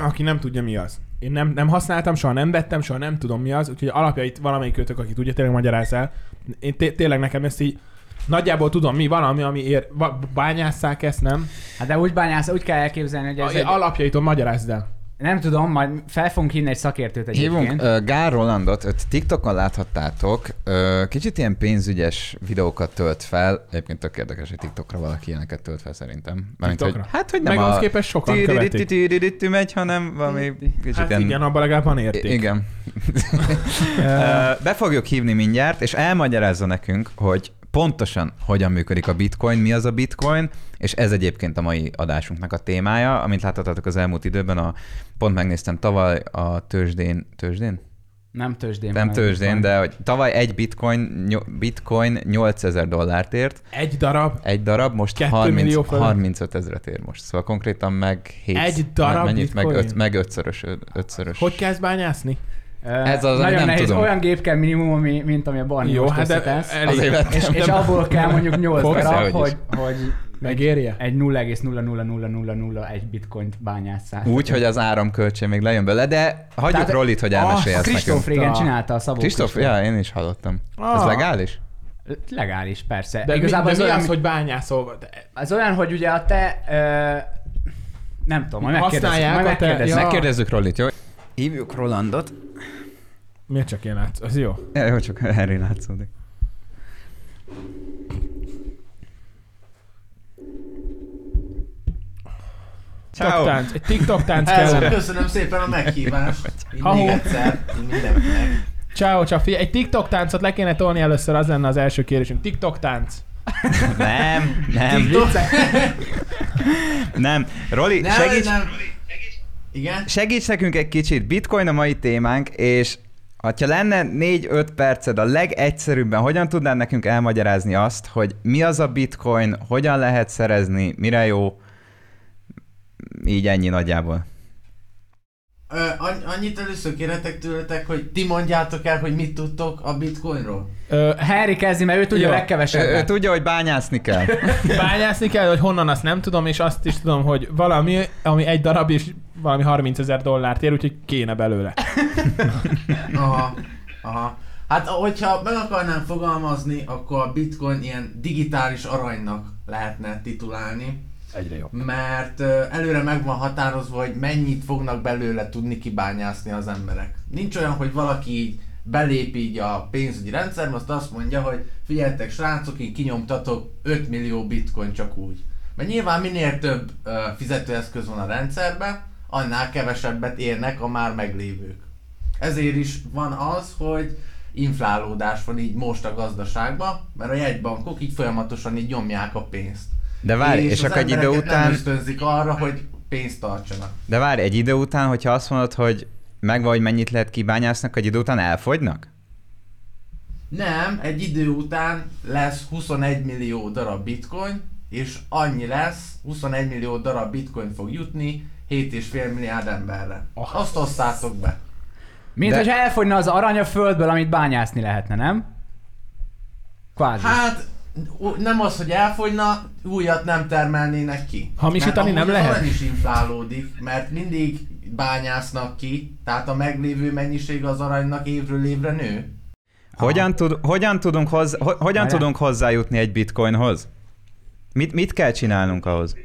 B: aki nem tudja, mi az. Én nem, nem használtam, soha nem vettem, soha nem tudom, mi az, úgyhogy alapjait valamelyik kötök, aki tudja, tényleg magyaráz el. Én té- tényleg nekem ezt így nagyjából tudom, mi valami, ami ér... Va- bányásszák ezt, nem?
A: Hát de úgy bányász, úgy kell elképzelni, hogy ez
B: Ez
A: egy...
B: Alapjaiton magyarázd el.
A: Nem tudom, majd fel fogunk hívni egy szakértőt
C: Hívunk
A: egyébként.
C: uh, Gál Rolandot, őt TikTokon láthattátok, uh, kicsit ilyen pénzügyes videókat tölt fel, egyébként tök érdekes, hogy TikTokra valaki ilyeneket tölt fel szerintem. hogy,
B: TikTokra?
C: hát, hogy nem
B: Meg
C: a...
B: ahhoz képest sokan követik.
C: Tü-tü-tü-tü-tü-tü megy, hanem valami kicsit
B: Hát
C: ilyen-
B: igen, abban legalább van
C: I-
B: érték.
C: Igen. Ö, Be fogjuk hívni mindjárt, és elmagyarázza nekünk, hogy pontosan hogyan működik a bitcoin, mi az a bitcoin, és ez egyébként a mai adásunknak a témája, amit láthattatok az elmúlt időben, a, pont megnéztem tavaly a tőzsdén, tőzsdén?
A: Nem tőzsdén.
C: Nem
A: hanem
C: tőzsdén,
A: bitcoin.
C: de hogy tavaly egy bitcoin, nyo- bitcoin 8000 dollárt ért,
B: Egy darab,
C: egy darab, most
B: Kettő
C: 30,
B: millió forint.
C: 35 ezeret ér most. Szóval konkrétan meg 7,
B: Egy darab
C: mennyit, meg,
B: bitcoin?
C: öt, meg ötszörös, ö- ötszörös.
B: hogy kell ezt bányászni?
A: Ö,
C: Ez az,
A: Nagyon
C: nem
A: nehéz,
C: tudom.
A: olyan gép kell minimum, ami, mint ami a Barni
B: Jó,
A: most
B: hát de
A: összetesz.
B: elég.
C: Azért vettem.
A: És, és abból kell mondjuk 8
B: Fogsz-e,
A: darab,
C: hogy is?
A: hogy, hogy
B: Megérje?
A: egy 0,00001 bitcoint bányásszál.
C: Úgy, hogy az áramköltség még lejön bele, de hagyjuk
A: Tehát-
C: Tehát, Rolit, hogy elmesélje
A: A
C: ezt nekünk.
A: Kristóf régen
B: Ah.
A: csinálta a Szabó
C: Kristóf,
A: Kristóf.
C: ja, én is hallottam. Ez
B: Ah.
C: legális?
A: Legális, persze.
B: De, mi, de
A: Igazából
B: mi
A: az, olyan,
B: az,
A: hogy...
B: hogy bányászol? De-
A: az olyan, hogy ugye a te... Ö... Nem tudom, majd megkérdezzük.
B: Használják
A: Majd
B: a te-
A: megkérdezzük.
C: Ja.
B: Ja.
C: Megkérdezzük Rolit, jó? Hívjuk Rolandot.
B: Miért csak én látsz? Az jó.
C: Ja, jó, csak Henry látszódik.
B: TikTok
C: Ciao.
B: tánc, egy TikTok tánc
D: Ez,
B: kellene.
D: köszönöm szépen a meghívást.
B: Ahó.
D: Mindig egyszer, mindenkinek.
B: Ciao, ciao, figyelj, egy TikTok táncot le kéne tolni először, az lenne az első kérésünk. TikTok tánc.
C: Nem, nem,
D: TikTok?
C: nem. Roli,
D: Nem,
C: segíts,
D: nem. Igen?
C: Segíts nekünk egy kicsit, bitcoin a mai témánk, és ha lenne 4-5 perced a legegyszerűbben, hogyan tudnál nekünk elmagyarázni azt, hogy mi az a bitcoin, hogyan lehet szerezni, mire jó, így ennyi nagyjából.
D: Ö, an- annyit először kérhetek tőletek, hogy ti mondjátok el, hogy mit tudtok a bitcoinról.
B: Ö,
A: Harry kezdi, mert ő tudja
B: Jó.
A: a
C: Ő, ő
A: legkevesebbet.
C: tudja, hogy bányászni kell.
B: bányászni kell, hogy honnan azt nem tudom, és azt is tudom, hogy valami, ami egy darab és valami 30 ezer dollárt ér, úgyhogy kéne belőle.
D: Aha, aha. Hát hogyha meg akarnám fogalmazni, akkor a bitcoin ilyen digitális aranynak lehetne titulálni,
B: Egyre jobb.
D: mert ö, előre meg van határozva, hogy mennyit fognak belőle tudni kibányászni az emberek. Nincs olyan, hogy valaki így belép így a pénzügyi rendszerbe, azt azt mondja, hogy figyeljetek srácok, én kinyomtatok 5 millió bitcoin csak úgy. Mert nyilván minél több ö, fizetőeszköz van a rendszerben, annál kevesebbet érnek a már meglévők. Ezért is van az, hogy inflálódás van így most a gazdaságban, mert a jegybankok így folyamatosan így nyomják a pénzt.
C: De várj, és
D: az
C: akkor egy idő
D: embereket Nem
C: után-
D: ösztönzik arra, hogy pénzt tartsanak.
C: De várj, egy idő után, hogyha azt mondod, hogy megvan, hogy mennyit lehet kibányásznak, egy idő után elfogynak?
D: Nem, egy idő után lesz 21 millió darab bitcoin, és annyi lesz, 21 millió darab bitcoin fog jutni 7,5 milliárd emberre.
B: Ah.
D: Azt osszátok be.
A: Mint
C: De-
A: hogyha elfogyna az arany a földből, amit bányászni lehetne, nem? Kvázi.
D: Hát ú- nem az, hogy elfogyna, újat nem termelnének ki.
B: Hamisítani
D: Mert
B: nem
D: amúgy
B: lehet?
D: arany is inflálódik, mert mindig bányásznak ki, tehát a meglévő mennyiség az aranynak évről évre nő.
C: Hogyan, tud, hogyan, tudunk, hozzá, ho, hogyan
A: Várjál.
C: tudunk hozzájutni egy bitcoinhoz? Mit, mit kell csinálnunk ahhoz?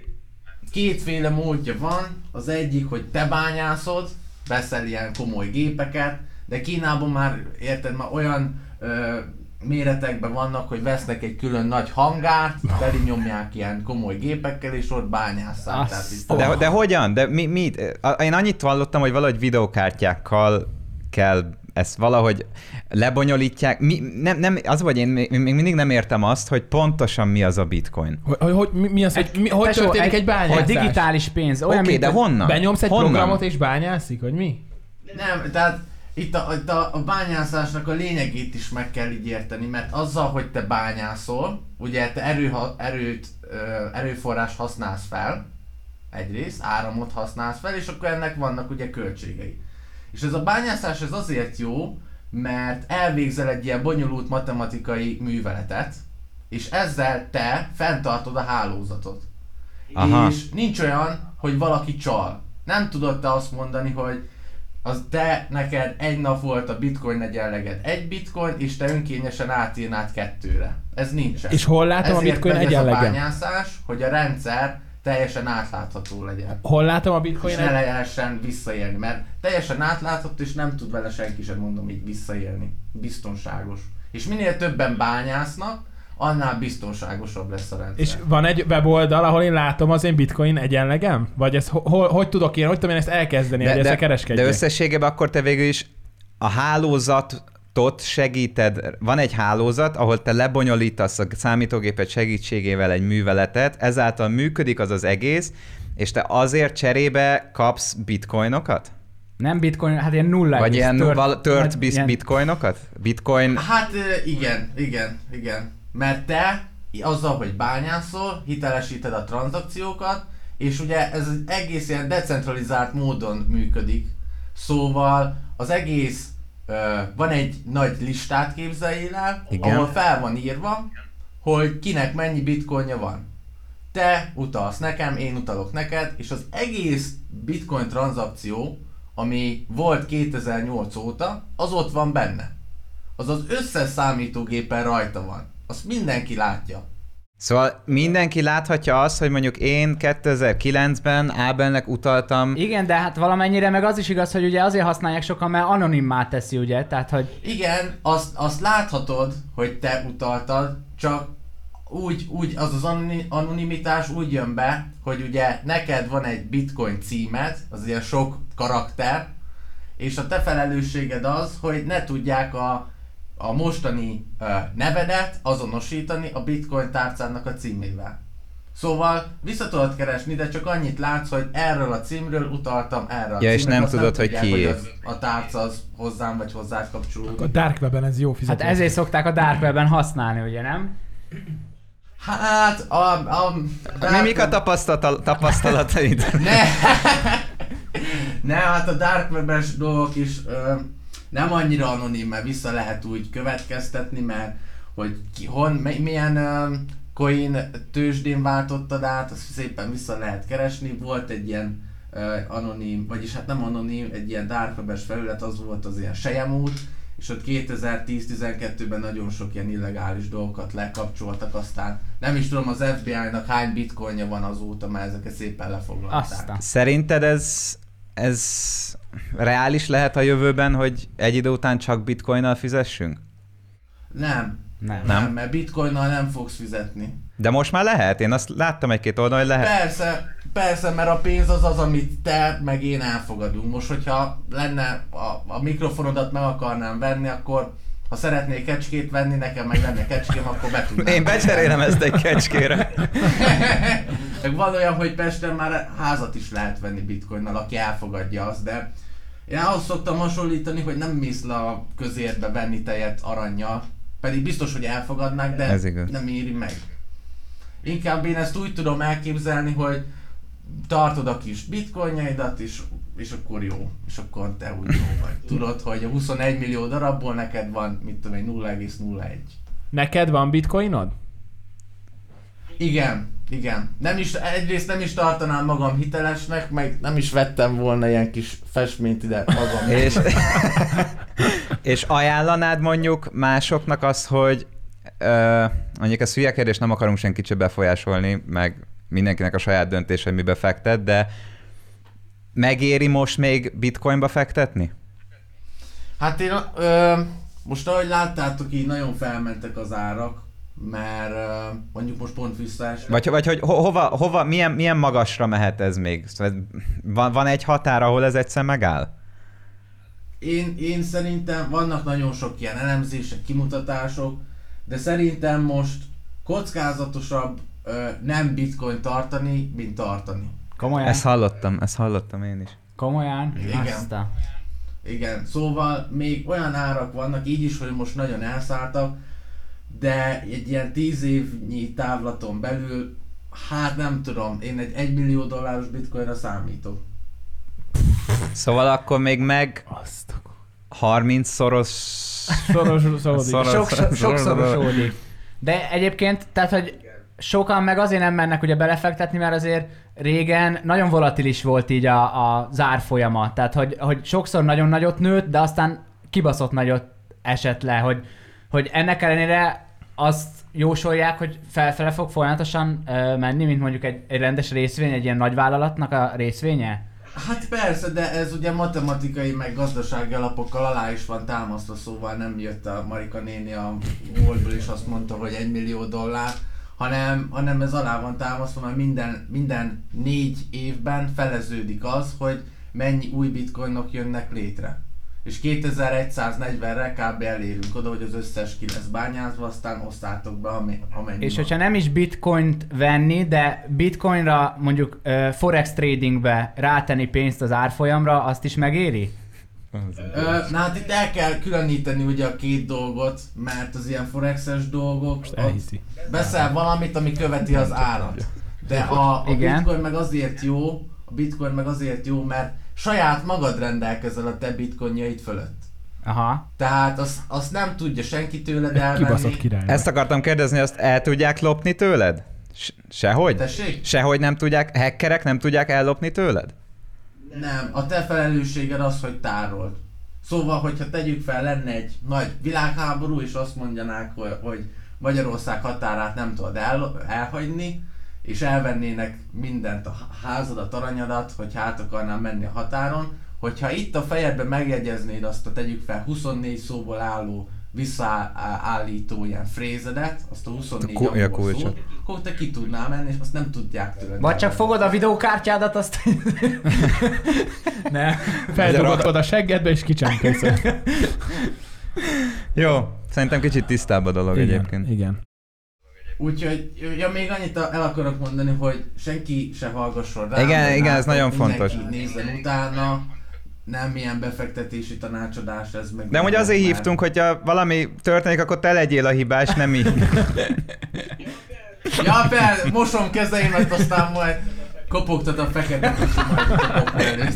D: Kétféle módja van, az egyik, hogy te bányászod, veszel ilyen komoly gépeket, de Kínában már, érted, már olyan ö, méretekben vannak, hogy vesznek egy külön nagy hangárt, teli nyomják ilyen komoly gépekkel, és ott bányásszák. Tehát
A: Azt
D: itt-
C: De, de hogyan? De mi, mit? A- Én annyit hallottam, hogy valahogy videokártyákkal kell ezt valahogy lebonyolítják. Mi, nem, nem, az vagy én még még mindig nem értem azt, hogy pontosan mi az a bitcoin.
B: Hogy, hogy, hogy mi, mi az, hogy, mi, hogy
A: Tesó,
B: történik egy, egy bányászás?
A: A digitális pénz.
C: Oké,
A: Olyan,
C: okay,
A: mint
C: de
A: a-
C: honnan?
B: Benyomsz egy
C: honnan?
B: programot és bányászik, hogy mi?
D: Nem, tehát itt a, itt a, a bányászásnak a lényegét is meg kell így érteni, mert azzal, hogy te bányászol, ugye te erő, erőt, ö, erőforrás használsz fel, egyrészt, áramot használsz fel, és akkor ennek vannak ugye költségei. És ez a bányászás ez azért jó, mert elvégzel egy ilyen bonyolult matematikai műveletet, és ezzel te fenntartod a hálózatot.
C: Aha.
D: És nincs olyan, hogy valaki csal. Nem tudod te azt mondani, hogy az te neked egy nap volt a bitcoin egyenleged egy bitcoin, és te önkényesen átírnád kettőre. Ez nincsen.
B: És hol látom a
D: Ezért
B: bitcoin
D: megy ez a
B: egyenlegen?
D: bányászás, hogy a rendszer teljesen átlátható legyen.
B: Hol látom a
D: És
B: bitcoin
D: ne lehessen visszaélni, mert teljesen átlátható, és nem tud vele senki sem mondom így visszaélni. Biztonságos. És minél többen bányásznak, annál biztonságosabb lesz a rendszer.
B: És van egy weboldal, ahol én látom az én bitcoin egyenlegem? Vagy ez ho- hol, hogy tudok én, hogy tudom én ezt elkezdeni, de, hogy ezzel
C: de
B: kereskedjek?
C: összességében akkor te végül is a hálózatot segíted, van egy hálózat, ahol te lebonyolítasz a számítógépet segítségével egy műveletet, ezáltal működik az az egész, és te azért cserébe kapsz bitcoinokat?
A: Nem bitcoin, hát ilyen nulla.
C: Vagy
A: egész
C: ilyen
A: tört-
C: tört, tört
A: vagy
C: bis,
A: ilyen-
C: bitcoinokat? Bitcoin...
D: Hát ö, igen, igen, igen. Mert te azzal, hogy bányászol, hitelesíted a tranzakciókat, és ugye ez egy egész ilyen decentralizált módon működik. Szóval az egész, ö, van egy nagy listát képzeljél el,
C: Igen.
D: ahol fel van írva, hogy kinek mennyi bitcoinja van. Te utalsz nekem, én utalok neked, és az egész bitcoin tranzakció, ami volt 2008 óta, az ott van benne az az összes számítógépen rajta van. Azt mindenki látja.
C: Szóval mindenki láthatja azt, hogy mondjuk én 2009-ben Ábelnek utaltam...
A: Igen, de hát valamennyire meg az is igaz, hogy ugye azért használják sokan, mert anonimmá teszi, ugye? Tehát, hogy
D: Igen, azt, azt láthatod, hogy te utaltad, csak úgy, úgy az az anoni- anonimitás úgy jön be, hogy ugye neked van egy bitcoin címed, az ilyen sok karakter, és a te felelősséged az, hogy ne tudják a, a mostani ö, nevedet azonosítani a bitcoin tárcának a címével. Szóval vissza tudod keresni, de csak annyit látsz, hogy erről a címről utaltam erre a
C: Ja, és
D: címre,
C: nem
D: azt
C: tudod, hogy
D: tudják,
C: kié.
D: az, a tárca az hozzám vagy hozzád kapcsolódik.
B: A Dark Webben ez jó
A: Hát
B: fizetés.
A: ezért szokták a Dark Webben használni, ugye nem?
D: Hát, a... a,
C: Hát Mi, mik a tapasztalata, tapasztalataid?
D: Ne! ne, hát a Dark Web-es dolgok is ö, nem annyira anonim, mert vissza lehet úgy következtetni, mert hogy ki, hon, mi- milyen ö, coin tőzsdén váltottad át, azt szépen vissza lehet keresni. Volt egy ilyen ö, anonim, vagyis hát nem anonim, egy ilyen Dark Web-es felület, az volt az ilyen sejemút, és ott 2010-12-ben nagyon sok ilyen illegális dolgokat lekapcsoltak, aztán nem is tudom az FBI-nak hány bitcoinja van azóta, mert ezeket szépen lefoglalták.
A: Aztán.
C: Szerinted ez, ez reális lehet a jövőben, hogy egy idő után csak bitcoinnal fizessünk?
D: Nem.
A: Nem.
D: Nem, nem mert bitcoinnal nem fogsz fizetni.
C: De most már lehet? Én azt láttam egy-két oldalon, hogy lehet.
D: Persze, persze, mert a pénz az az, amit te meg én elfogadunk. Most, hogyha lenne a, a mikrofonodat meg akarnám venni, akkor ha szeretnék kecskét venni, nekem meg lenne kecském, akkor be tudnám.
C: Én becserélem ezt egy kecskére.
D: Meg van olyan, hogy Pesten már házat is lehet venni bitcoinnal, aki elfogadja azt, de én ahhoz szoktam hasonlítani, hogy nem mész le a közérbe venni tejet aranyjal, pedig biztos, hogy elfogadnák, de
C: Ez igaz.
D: nem éri meg. Inkább én ezt úgy tudom elképzelni, hogy tartod a kis bitcoinjaidat, és, és akkor jó, és akkor te úgy jó vagy. Tudod, hogy a 21 millió darabból neked van, mit tudom én, 0,01.
B: Neked van bitcoinod?
D: Igen, igen. Nem is, egyrészt nem is tartanám magam hitelesnek, meg nem is vettem volna ilyen kis festményt ide magam.
C: És, és ajánlanád mondjuk másoknak az, hogy ö, mondjuk ez hülye kérdés, nem akarunk senkit se befolyásolni, meg mindenkinek a saját döntés, hogy mibe fektet, de megéri most még bitcoinba fektetni?
D: Hát én ö, most ahogy láttátok, így nagyon felmentek az árak, mert ö, mondjuk most pont visszaesnek.
C: Vagy, vagy hogy ho- hova, hova milyen, milyen magasra mehet ez még? Szóval ez- Van, van egy határ, ahol ez egyszer megáll?
D: Én, én szerintem vannak nagyon sok ilyen elemzések, kimutatások, de szerintem most kockázatosabb ö, nem bitcoin tartani, mint tartani.
A: Komolyan?
C: Ezt hallottam, ezt hallottam én is.
A: Komolyan?
D: Igen.
A: Aztán.
D: Igen, szóval még olyan árak vannak, így is, hogy most nagyon elszálltak, de egy ilyen 10 évnyi távlaton belül, hát nem tudom, én egy 1 millió dolláros bitcoinra számítok.
C: Szóval akkor még meg
B: Azt
C: 30 szoros...
B: Szoros, szorodik.
C: Szoros-
A: Sok, so,
C: szoros-
A: sokszorosódik. De egyébként, tehát, hogy sokan meg azért nem mennek ugye belefektetni, mert azért régen nagyon volatilis volt így a, a zárfolyama. Tehát, hogy, hogy sokszor nagyon nagyot nőtt, de aztán kibaszott nagyot esett le, hogy, hogy ennek ellenére azt jósolják, hogy felfele fog folyamatosan ö, menni, mint mondjuk egy, egy rendes részvény, egy ilyen nagy vállalatnak a részvénye?
D: Hát persze, de ez ugye matematikai meg gazdasági alapokkal alá is van támasztva, szóval nem jött a Marika néni a holdból és azt mondta, hogy 1 millió dollár, hanem, hanem ez alá van támasztva, mert minden, minden négy évben feleződik az, hogy mennyi új bitcoinok jönnek létre. És 2140-re kb. elérünk oda, hogy az összes ki lesz bányázva, aztán osztátok be, ami- amennyi
A: És
D: van.
A: hogyha nem is bitcoint venni, de bitcoinra mondjuk ö, forex tradingbe rátenni pénzt az árfolyamra, azt is megéri?
D: Ö, Na hát itt el kell különíteni ugye a két dolgot, mert az ilyen forexes dolgok, Most
B: elhiszi.
D: veszel valamit, ami követi az árat. De a, a
A: Igen.
D: bitcoin meg azért jó, a bitcoin meg azért jó, mert saját magad rendelkezel a te bitcoinjaid fölött.
A: Aha.
D: Tehát azt, azt nem tudja senki tőled elvenni.
B: Kibaszott király.
C: Ezt akartam kérdezni, azt el tudják lopni tőled? Se- Sehogy?
D: Tessék?
C: Sehogy nem tudják, hackerek nem tudják ellopni tőled?
D: Nem, a te felelősséged az, hogy tárold. Szóval, hogyha tegyük fel, lenne egy nagy világháború, és azt mondjanák, hogy, hogy Magyarország határát nem tudod el, elhagyni, és elvennének mindent, a házadat, aranyadat, hogy át akarnál menni a határon, hogyha itt a fejedbe megjegyeznéd azt a tegyük fel 24 szóból álló visszaállító ilyen frézedet, azt a 24
C: A ku- ja,
D: angol
C: kulcsot.
D: szót, akkor te ki tudnál menni, és azt nem tudják tőled.
A: Vagy csak
D: elvenni.
A: fogod a videókártyádat, azt...
B: Ne. Feldobod a seggedbe és kicsempészed.
C: Jó, szerintem kicsit tisztább a dolog
B: Igen,
C: egyébként.
B: igen.
D: Úgyhogy, ja még annyit el akarok mondani, hogy senki se hallgasson rá.
C: Igen,
D: meg
C: igen,
D: rá,
C: ez nagyon
D: mindenki
C: fontos.
D: nézzen utána, nem ilyen befektetési tanácsadás ez meg.
C: De amúgy
D: minden,
C: azért
D: mert-
C: hívtunk, hogyha valami történik, akkor te legyél a hibás, nem mi.
D: Ja, per, mosom kezeimet, aztán majd kopogtat a fekete kocsimat.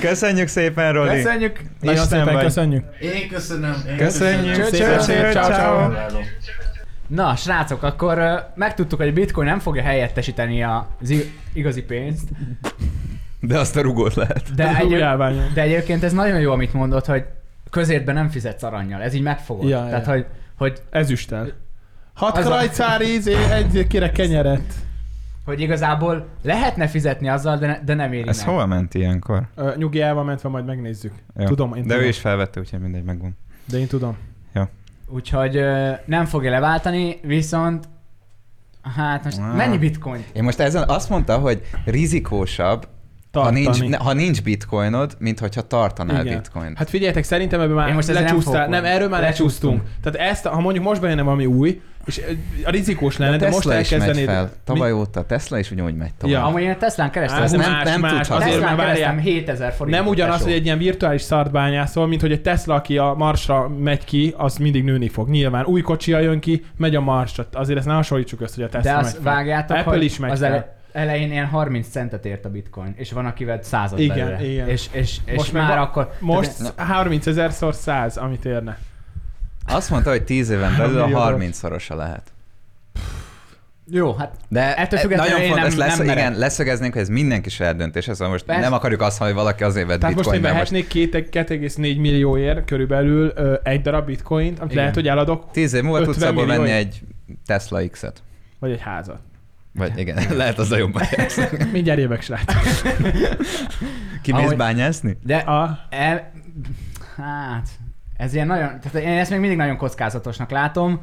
C: Köszönjük szépen, Roli.
A: Köszönjük!
B: Nagyon
C: Isten
B: szépen
C: vagy.
B: köszönjük.
D: Én köszönöm. Én
C: Köszönjük
B: szépen,
C: szépen,
B: ciao,
C: ciao.
D: Hello.
A: Na, srácok, akkor ö, megtudtuk, hogy a bitcoin nem fogja helyettesíteni az i- igazi pénzt,
C: De azt a rugót lehet.
A: de,
B: Ez
A: egy,
B: úgy elványom.
A: de egyébként ez nagyon jó, amit mondod, hogy közértben nem fizetsz aranyjal, ez így megfogod.
B: Ja,
A: Tehát,
B: ja.
A: hogy, hogy,
B: Ezüsttel. Hat
A: Az a-
B: krajcár ízé, egy kire kenyeret.
A: hogy igazából lehetne fizetni azzal, de, ne, de nem éri
C: Ez
A: meg.
C: hol ment ilyenkor?
B: Ö, Nyugi el van mentve, majd megnézzük.
C: Jó.
B: Tudom, én
C: De
B: tudom.
C: ő is felvette, úgyhogy mindegy, megvan.
B: De én tudom.
A: Úgyhogy ö, nem fogja leváltani, viszont hát most
C: Ah.
A: mennyi bitcoin?
C: Én most ezen azt mondta, hogy rizikósabb, ha
B: Tartani.
C: nincs, ne- ha nincs bitcoinod, mint hogyha tartanál
B: Igen.
C: bitcoint.
B: Hát figyeljetek, szerintem ebben már
A: Én most
B: most
A: ezzel nem
B: lecsúsztál. Nem,
A: fogok.
B: erről már lecsúsztunk.
A: Lecsúsztunk.
B: Tehát ezt, ha mondjuk most bejönne valami új, és a rizikós lenne, de,
C: Tesla
B: most
C: is megy
B: elkezdenéd...
C: fel. Tavaly óta Tesla is ugyanúgy megy tovább.
B: Ja.
A: Amúgy én a Teslán keresztül,
B: Á,
A: Á,
B: ez
A: nem,
C: nem-
B: más,
C: nem
B: más.
C: tudhatod.
B: Azért már
A: Teslán
B: várjál.
A: keresztem 7000 forint.
B: Nem ugyanaz,
C: tesó.
B: hogy egy ilyen virtuális szart bányászol, mint hogy egy Tesla, aki a Marsra megy ki, az mindig nőni fog. Nyilván új kocsia jön ki, megy a Marsra. Azért ezt ne hasonlítsuk össze, hogy a Tesla
A: De
B: megy
A: azt
B: fel.
A: vágjátok,
B: Apple
A: hogy
B: is megy
A: az
B: fel.
A: ele- elején ilyen 30 centet ért a bitcoin, és van, akivel 100
B: Igen,
A: belőle.
B: igen.
A: És, és, és
B: Most
A: most
B: meg
A: már
B: va-
A: akkor...
B: Most 30 ezer szor 100, amit érne.
C: Azt mondta, hogy 10 éven belül a
B: millió
C: 30 szorosa lehet.
A: Jó, hát
C: De
A: Ettől
C: e-
A: függetlenül
C: nagyon
A: én
C: fontos,
A: nem-
C: lesz,
A: nem merek.
C: igen, leszögeznénk, hogy ez mindenki saját döntés, ez most
A: Persze.
C: nem akarjuk azt, hogy valaki azért vett
B: Tehát
C: bitcoin,
B: most én
C: mert most
B: vehetnék két- 2,4 millióért körülbelül ö, egy darab bitcoint, amit
A: Igen.
B: lehet, hogy eladok,
C: 10 év múlva
B: 50
C: tudsz abból
B: millió.
C: venni egy Tesla X-et.
B: vagy egy házat.
C: Vagy igen, lehet az a jobb.
B: Mindjárt jövök, srác.
C: Kimész
A: Ahogy-
C: bányászni?
A: de...
B: A,
A: El, hát... Ez ilyen nagyon... Tehát én ezt még mindig nagyon kockázatosnak látom.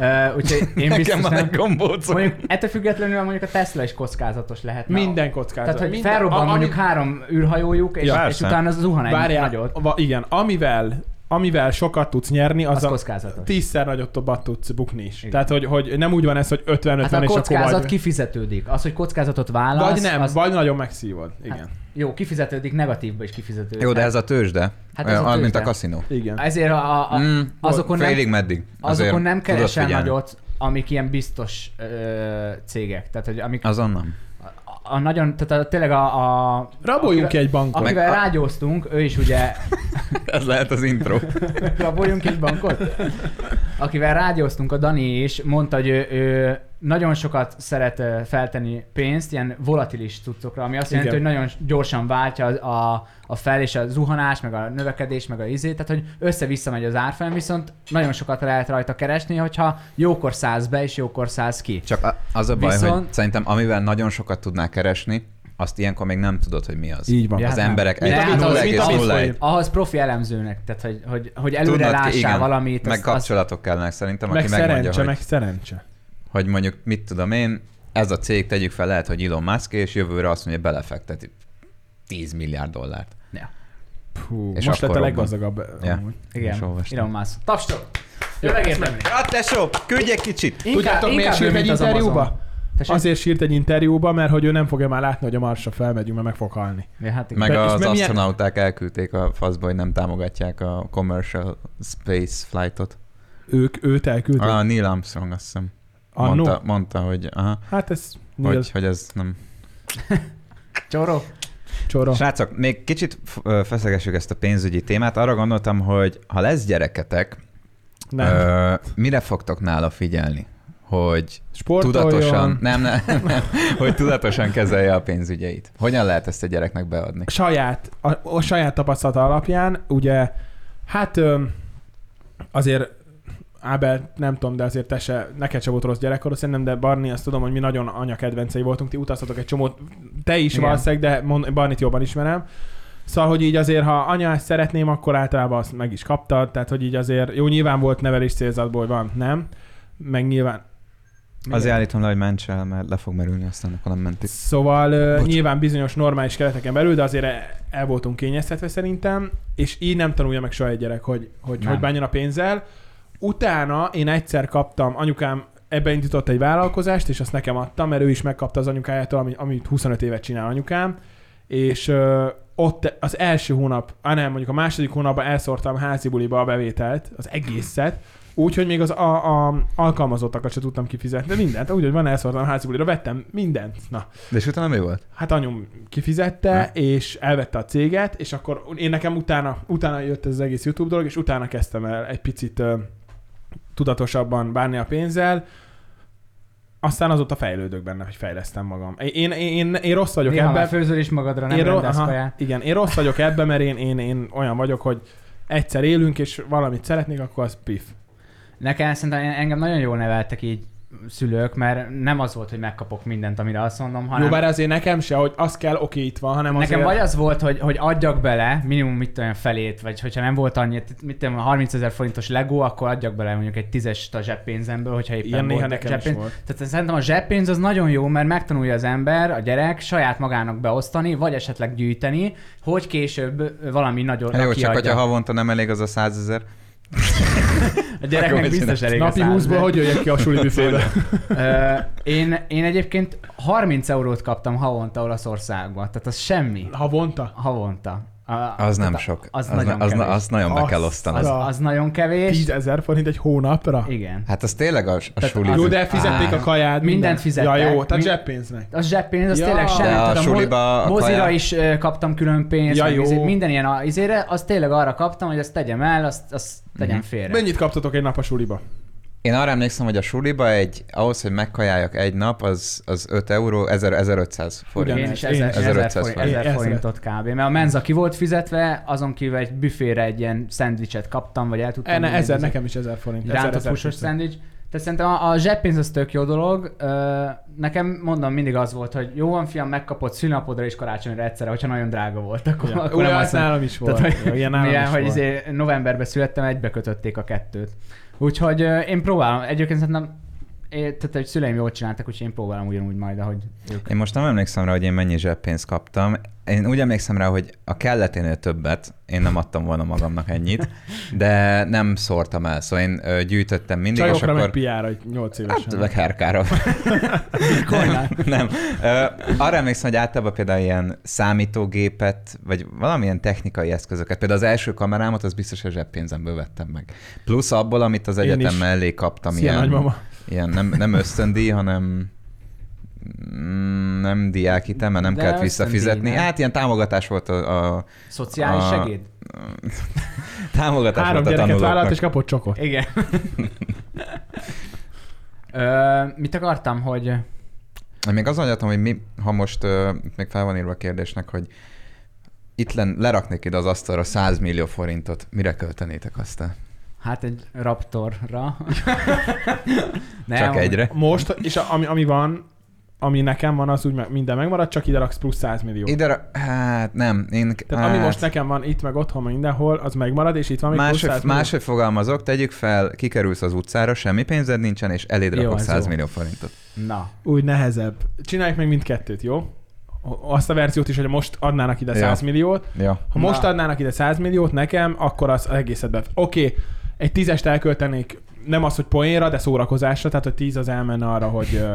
A: Uh, úgyhogy én
C: Nekem
A: biztos
C: van
A: nem...
C: egy gombócom.
A: Mondjuk ettől függetlenül mondjuk a Tesla is kockázatos lehet.
B: minden kockázat.
A: Tehát, hogy
B: minden,
A: felrobban
B: a-
A: mondjuk
B: ami-
A: három űrhajójuk, és,
C: Ja,
A: és
C: persze.
A: utána az zuhan egy
B: Várjál,
A: nagyot.
B: va, igen, amivel, amivel sokat tudsz nyerni,
A: Az,
B: az, a
A: kockázatos.
B: tízszer nagyobb tobbat tudsz bukni is.
A: Igen.
B: Tehát, hogy, hogy nem úgy van ez, hogy 50-50
A: Hát a
B: és akkor
A: kockázat
B: vagy,
A: kifizetődik. Az, hogy kockázatot válasz,
B: vagy nem,
A: az
B: vagy nagyon megszívod. Igen.
A: Hát, jó, kifizetődik, negatívba is kifizetődik.
C: Jó, de ez a tőzsde.
A: Hát ez a
C: Olyan, Mint a
A: tőzsde.
C: kaszinó.
B: igen.
A: Ezért a, a, a,
C: Mm,
A: azokon nem-
C: félig meddig. Azért
A: azokon nem
C: tudod
A: keresel
C: figyelni.
A: nagyot, amik ilyen biztos ö, cégek. Tehát, hogy amik
C: Azon nem.
A: a, a nagyon, tehát a, tényleg a... a
B: Raboljunk ki
A: akivel,
B: egy bankot.
C: Meg-
A: Akivel
C: a-
A: rágyóztunk, ő is ugye
C: Ez lehet az intro.
A: Raboljunk egy bankot? Akivel rádióztunk, a Dani is mondta, hogy ő, ő nagyon sokat szeret ö, feltenni pénzt ilyen volatilis cuccokra, ami azt
B: Igen.
A: jelenti, hogy nagyon gyorsan váltja a, a, a fel és a zuhanás, meg a növekedés, meg a izé, tehát hogy össze-vissza megy az árfolyam, viszont nagyon sokat lehet rajta keresni, hogyha jókor szállsz be és jókor szállsz ki.
C: Csak a- az a baj,
A: Viszont-
C: hogy szerintem amivel nagyon sokat tudnál keresni, azt ilyenkor még nem tudod, hogy mi az.
B: Így van.
A: Ja,
C: az
A: hát nem.
C: emberek
A: Mint
C: egy
A: a bitcoin,
B: mint a
C: 0,01.
B: bitcoin.
A: Ahhoz profi elemzőnek, tehát hogy, hogy, hogy előre
C: Tudnod
A: Tudnod,
C: ki-
A: lássál
C: igen.
A: valamit,
C: Meg kapcsolatok kellnek szerintem, aki
B: Meg
C: megmondja,
B: szerencse,
C: hogy
B: meg szerencse.
C: hogy mondjuk mit tudom én, ez a cég, tegyük fel, lehet, hogy Elon Musk, és jövőre azt mondja, belefekteti 10 milliárd dollárt.
B: Puh,
C: És
B: most lett
C: akkor
B: a
C: robban.
B: leggazdagabb.
C: Ja.
B: amúgy.
C: Is
A: igen,
C: olvastam.
A: Elon Musk. Tapstok! Jó, megértem.
C: Hát tesó, küldj egy kicsit!
A: Inkább-
B: Tudjátok, miért
A: inkább ő,
B: sírt egy
A: mint az Amazon.
B: interjúba?
A: Tessék?
B: Azért sírt egy interjúba, mert hogy ő nem fogja már látni, hogy a Marsra felmegyünk, mert meg fog halni.
A: Ja, hát igen.
C: Meg
B: Be- és
C: az
B: mert milyen-
C: astronauták elküldték a faszba, hogy nem támogatják a commercial space flightot.
B: Ők, őt elküldték.
C: A Neil Armstrong azt hiszem.
B: Annó.
C: Ah, Mondta, mondta hogy, aha,
B: Hát ez Ah, Neil
C: hogy, hogy ez nem.
A: Csoró.
B: Csora.
C: Srácok, még kicsit f- ö, feszegessük ezt a pénzügyi témát. Arra gondoltam, hogy ha lesz gyereketek,
B: Nem.
C: ö, mire fogtok nála figyelni? Hogy
B: Sportoljon.
C: Tudatosan, nem, nem, nem, hogy tudatosan kezelje a pénzügyeit. Hogyan lehet ezt a gyereknek beadni?
B: saját, a, a saját tapasztalata alapján, ugye, hát ö, azért Ábel, nem tudom, de azért te se, neked se volt rossz gyerekkorod, szerintem, de Barni, azt tudom, hogy mi nagyon anyakedvencei voltunk, ti utaztatok egy csomót, te is
A: Igen.
B: valószínűleg, de mond, Barnit jobban ismerem. Szóval, hogy így azért, ha anyát szeretném, akkor általában azt meg is kaptad, tehát, hogy így azért, jó, nyilván volt nevelés célzatból, hogy van, nem? Meg nyilván...
C: Azért állítom le, hogy ments el, mert le fog merülni, aztán akkor nem mentik.
B: Szóval ö,
C: Bocs.
B: nyilván bizonyos normális kereteken belül, de azért e- el voltunk kényeztetve szerintem, és így nem tanulja meg soha egy gyerek, hogy hogy,
A: Nem.
B: hogy bánjon a pénzzel. Utána én egyszer kaptam, anyukám ebbe indított egy vállalkozást, és azt nekem adta, mert ő is megkapta az anyukájától, ami, amit 25 évet csinál anyukám, és ö, ott az első hónap, á nem, mondjuk a második hónapban elszórtam házi buliba a bevételt, az egészet, úgyhogy még az a, a alkalmazottakat se tudtam kifizetni, de mindent, úgyhogy van elszórtam házi bulira, vettem mindent, na.
C: De és utána mi volt?
B: Hát anyum kifizette,
C: Ha.
A: Hát.
B: ha. és elvette a céget, és akkor én nekem utána, utána jött ez az egész YouTube dolog, és utána kezdtem el egy picit ö, tudatosabban bánni a pénzzel, aztán azóta fejlődök benne, hogy fejlesztem magam. Én, én, én, én rossz vagyok
A: Néha már
B: ebben.
A: főzöl is magadra, nem
B: Én ro-
A: rendelsz
B: aha,
A: kaját.
B: Igen, én rossz vagyok ebben, mert én, én, én olyan vagyok, hogy egyszer élünk, és valamit szeretnék, akkor az pif.
A: Nekem szerintem en- engem nagyon jól neveltek így szülők, mert nem az volt, hogy megkapok mindent, amire azt mondom,
B: Hanem... Jó,
A: hanem
B: bár azért nekem se, hogy az kell, oké, itt van, hanem
A: Nekem
B: azért...
A: vagy az volt, hogy, hogy adjak bele minimum mit tudom, én, felét, vagy hogyha nem volt annyi, mit tudom, én, 30 ezer forintos Lego, akkor adjak bele mondjuk egy tízest a zseppénzemből, hogyha éppen volt
B: Ilyen néha nekem is
A: zseppénz.
B: volt.
A: Tehát én szerintem a zseppénz az nagyon jó, mert megtanulja az ember, a gyerek saját magának beosztani, vagy esetleg gyűjteni, hogy később valami nagyon
C: Hát jó, csak
A: kiadja.
C: hogyha havonta nem elég az a százezer.
A: A gyereknek
C: Akkor mit
A: biztos elég a
B: Napi
A: 100
B: 20-ból
A: ezer.
B: hogy jöjjek ki a suli büfébe?
A: Ö, én, én egyébként 30 eurót kaptam havonta Olaszországba, tehát az semmi.
B: Havonta?
A: Havonta. A,
C: Az nem
A: tehát
C: sok.
A: Az,
C: az,
A: nagyon
C: na- az, na-
A: kevés.
C: azt nagyon be
B: Azt-
C: kell osztani.
A: az,
B: az-
A: az nagyon kevés.
B: 10 ezer forint egy hónapra?
A: Igen.
C: Hát az tényleg a, a
A: Tehát Hát.
C: suli.
A: az-
B: Jó, de fizették
A: Á,
B: a kaját.
A: mindent fizettek.
B: Ja, jó, tehát
A: Mind-
B: zseppénznek.
A: A zseppénz, az
B: Ja.
A: tényleg semmi.
C: De a
A: Tehát mo-
C: suliba a
A: mozira
C: kaja-
A: is ö, kaptam külön pénzt,
B: Ja,
A: meg
B: jó.
A: izé- minden ilyen a- izére, azt tényleg arra kaptam, hogy azt tegyem el, azt, azt tegyem
C: Mhm.
A: félre.
B: Mennyit kaptatok egy nap a suliba?
C: Én arra emlékszem, hogy a suliba egy, ahhoz, hogy megkajáljak egy nap, az, az 5 euró, 1000, 1500
A: Én
C: forint.
B: Ugyanez.
A: is
B: Én
A: ezer,
B: is.
A: ezer,
C: 1500
A: forint,
C: forint.
A: ezer
B: Én
A: forintot kb. Mert a menza ki volt fizetve, azon kívül egy büfére egy ilyen szendvicset kaptam, vagy el tudtam.
B: E, ne,
A: vinni,
B: ezer,
A: egy
B: nekem is ezer forint. Ezer,
A: Rántott
B: ezer
A: húsos
B: forint.
A: szendvics. Tehát szerintem a, a zseppénz az tök jó dolog. Ö, nekem mondom, mindig az volt, hogy jó van fiam, megkapott szülnapodra és karácsonyra egyszerre, hogyha nagyon drága volt, akkor,
B: Ja.
A: akkor
B: Ó,
A: nem
B: az
A: azt mondom.
B: nálam is volt. hát,
A: Tehát,
B: Ja,
A: hogy,
B: Ilyen
A: ja,
B: nálam
A: mivel, hogy
B: is volt.
A: izé, novemberben születtem, egybe kötötték a kettőt. Úgyhogy ö, én próbálom, egyébként szerintem én, tehát, hogy szüleim jól csináltak, úgyhogy én próbálom ugyanúgy majd, ahogy ők.
C: Én most nem emlékszem rá, hogy én mennyi zseppénzt kaptam. Én úgy emlékszem rá, hogy a kelleténél többet, én nem adtam volna magamnak ennyit, de nem szórtam el, szóval én ö, gyűjtöttem mindig,
B: Csajokra
C: és
B: meg
C: akkor...
B: piára, egy 8
C: Hát,
B: évesen.
C: meg herkára. nem, nem. Ö, arra emlékszem, hogy általában például ilyen számítógépet, vagy valamilyen technikai eszközöket, például az első kamerámat, az biztos, hogy a zseppénzemből vettem meg. Plusz abból, amit az
B: Én
C: egyetem
B: is.
C: mellé kaptam.
B: Szia,
C: ilyen,
B: nagymama.
C: ilyen nem, nem ösztöndíj, hanem mm, nem diákhitel, mert nem
A: De
C: kellett
A: ösztöndíj,
C: visszafizetni.
A: nem?
C: Hát ilyen támogatás volt a, a
A: Szociális
C: A-
A: segéd?
C: támogatás
B: Három
C: volt a
B: gyereket vállalt,
C: tanulóknak.
B: és kapott csokot.
A: Igen. Ö, mit akartam, hogy
C: Én Még azon agyaltam, hogy mi, ha most ö, még fel van írva a kérdésnek, hogy itt len, leraknék ide az asztalra 100 millió forintot, mire költenétek aztán?
A: hát egy raptorra. Nem,
C: Csak egyre?
B: Most, és a, ami, ami van, ami nekem van, az úgy meg, minden megmarad, csak ide raksz plusz 100 millió.
C: Ide, ra- hát nem, én...
B: Tehát
C: hát,
B: ami most nekem van itt, meg otthon, meg mindenhol, az megmarad, és itt van még plusz 100
C: máshogy,
B: millió.
C: máshogy fogalmazok, tegyük fel, kikerülsz az utcára, semmi pénzed nincsen, és eléd
A: Jó,
C: rakok
A: ez
C: 100
A: jó.
C: millió forintot.
A: Na,
B: Úgy nehezebb. Csináljuk meg mindkettőt, jó? Azt a verziót is, hogy most adnának ide
C: Ja.
B: 100 milliót.
C: Ja.
B: Ha most
A: Na.
B: adnának ide 100 milliót nekem, akkor az egészet be... Oké, okay, egy tízest elköltenék, nem az, hogy poénra, de szórakozásra, tehát hogy tíz az elmenne arra, hogy ö,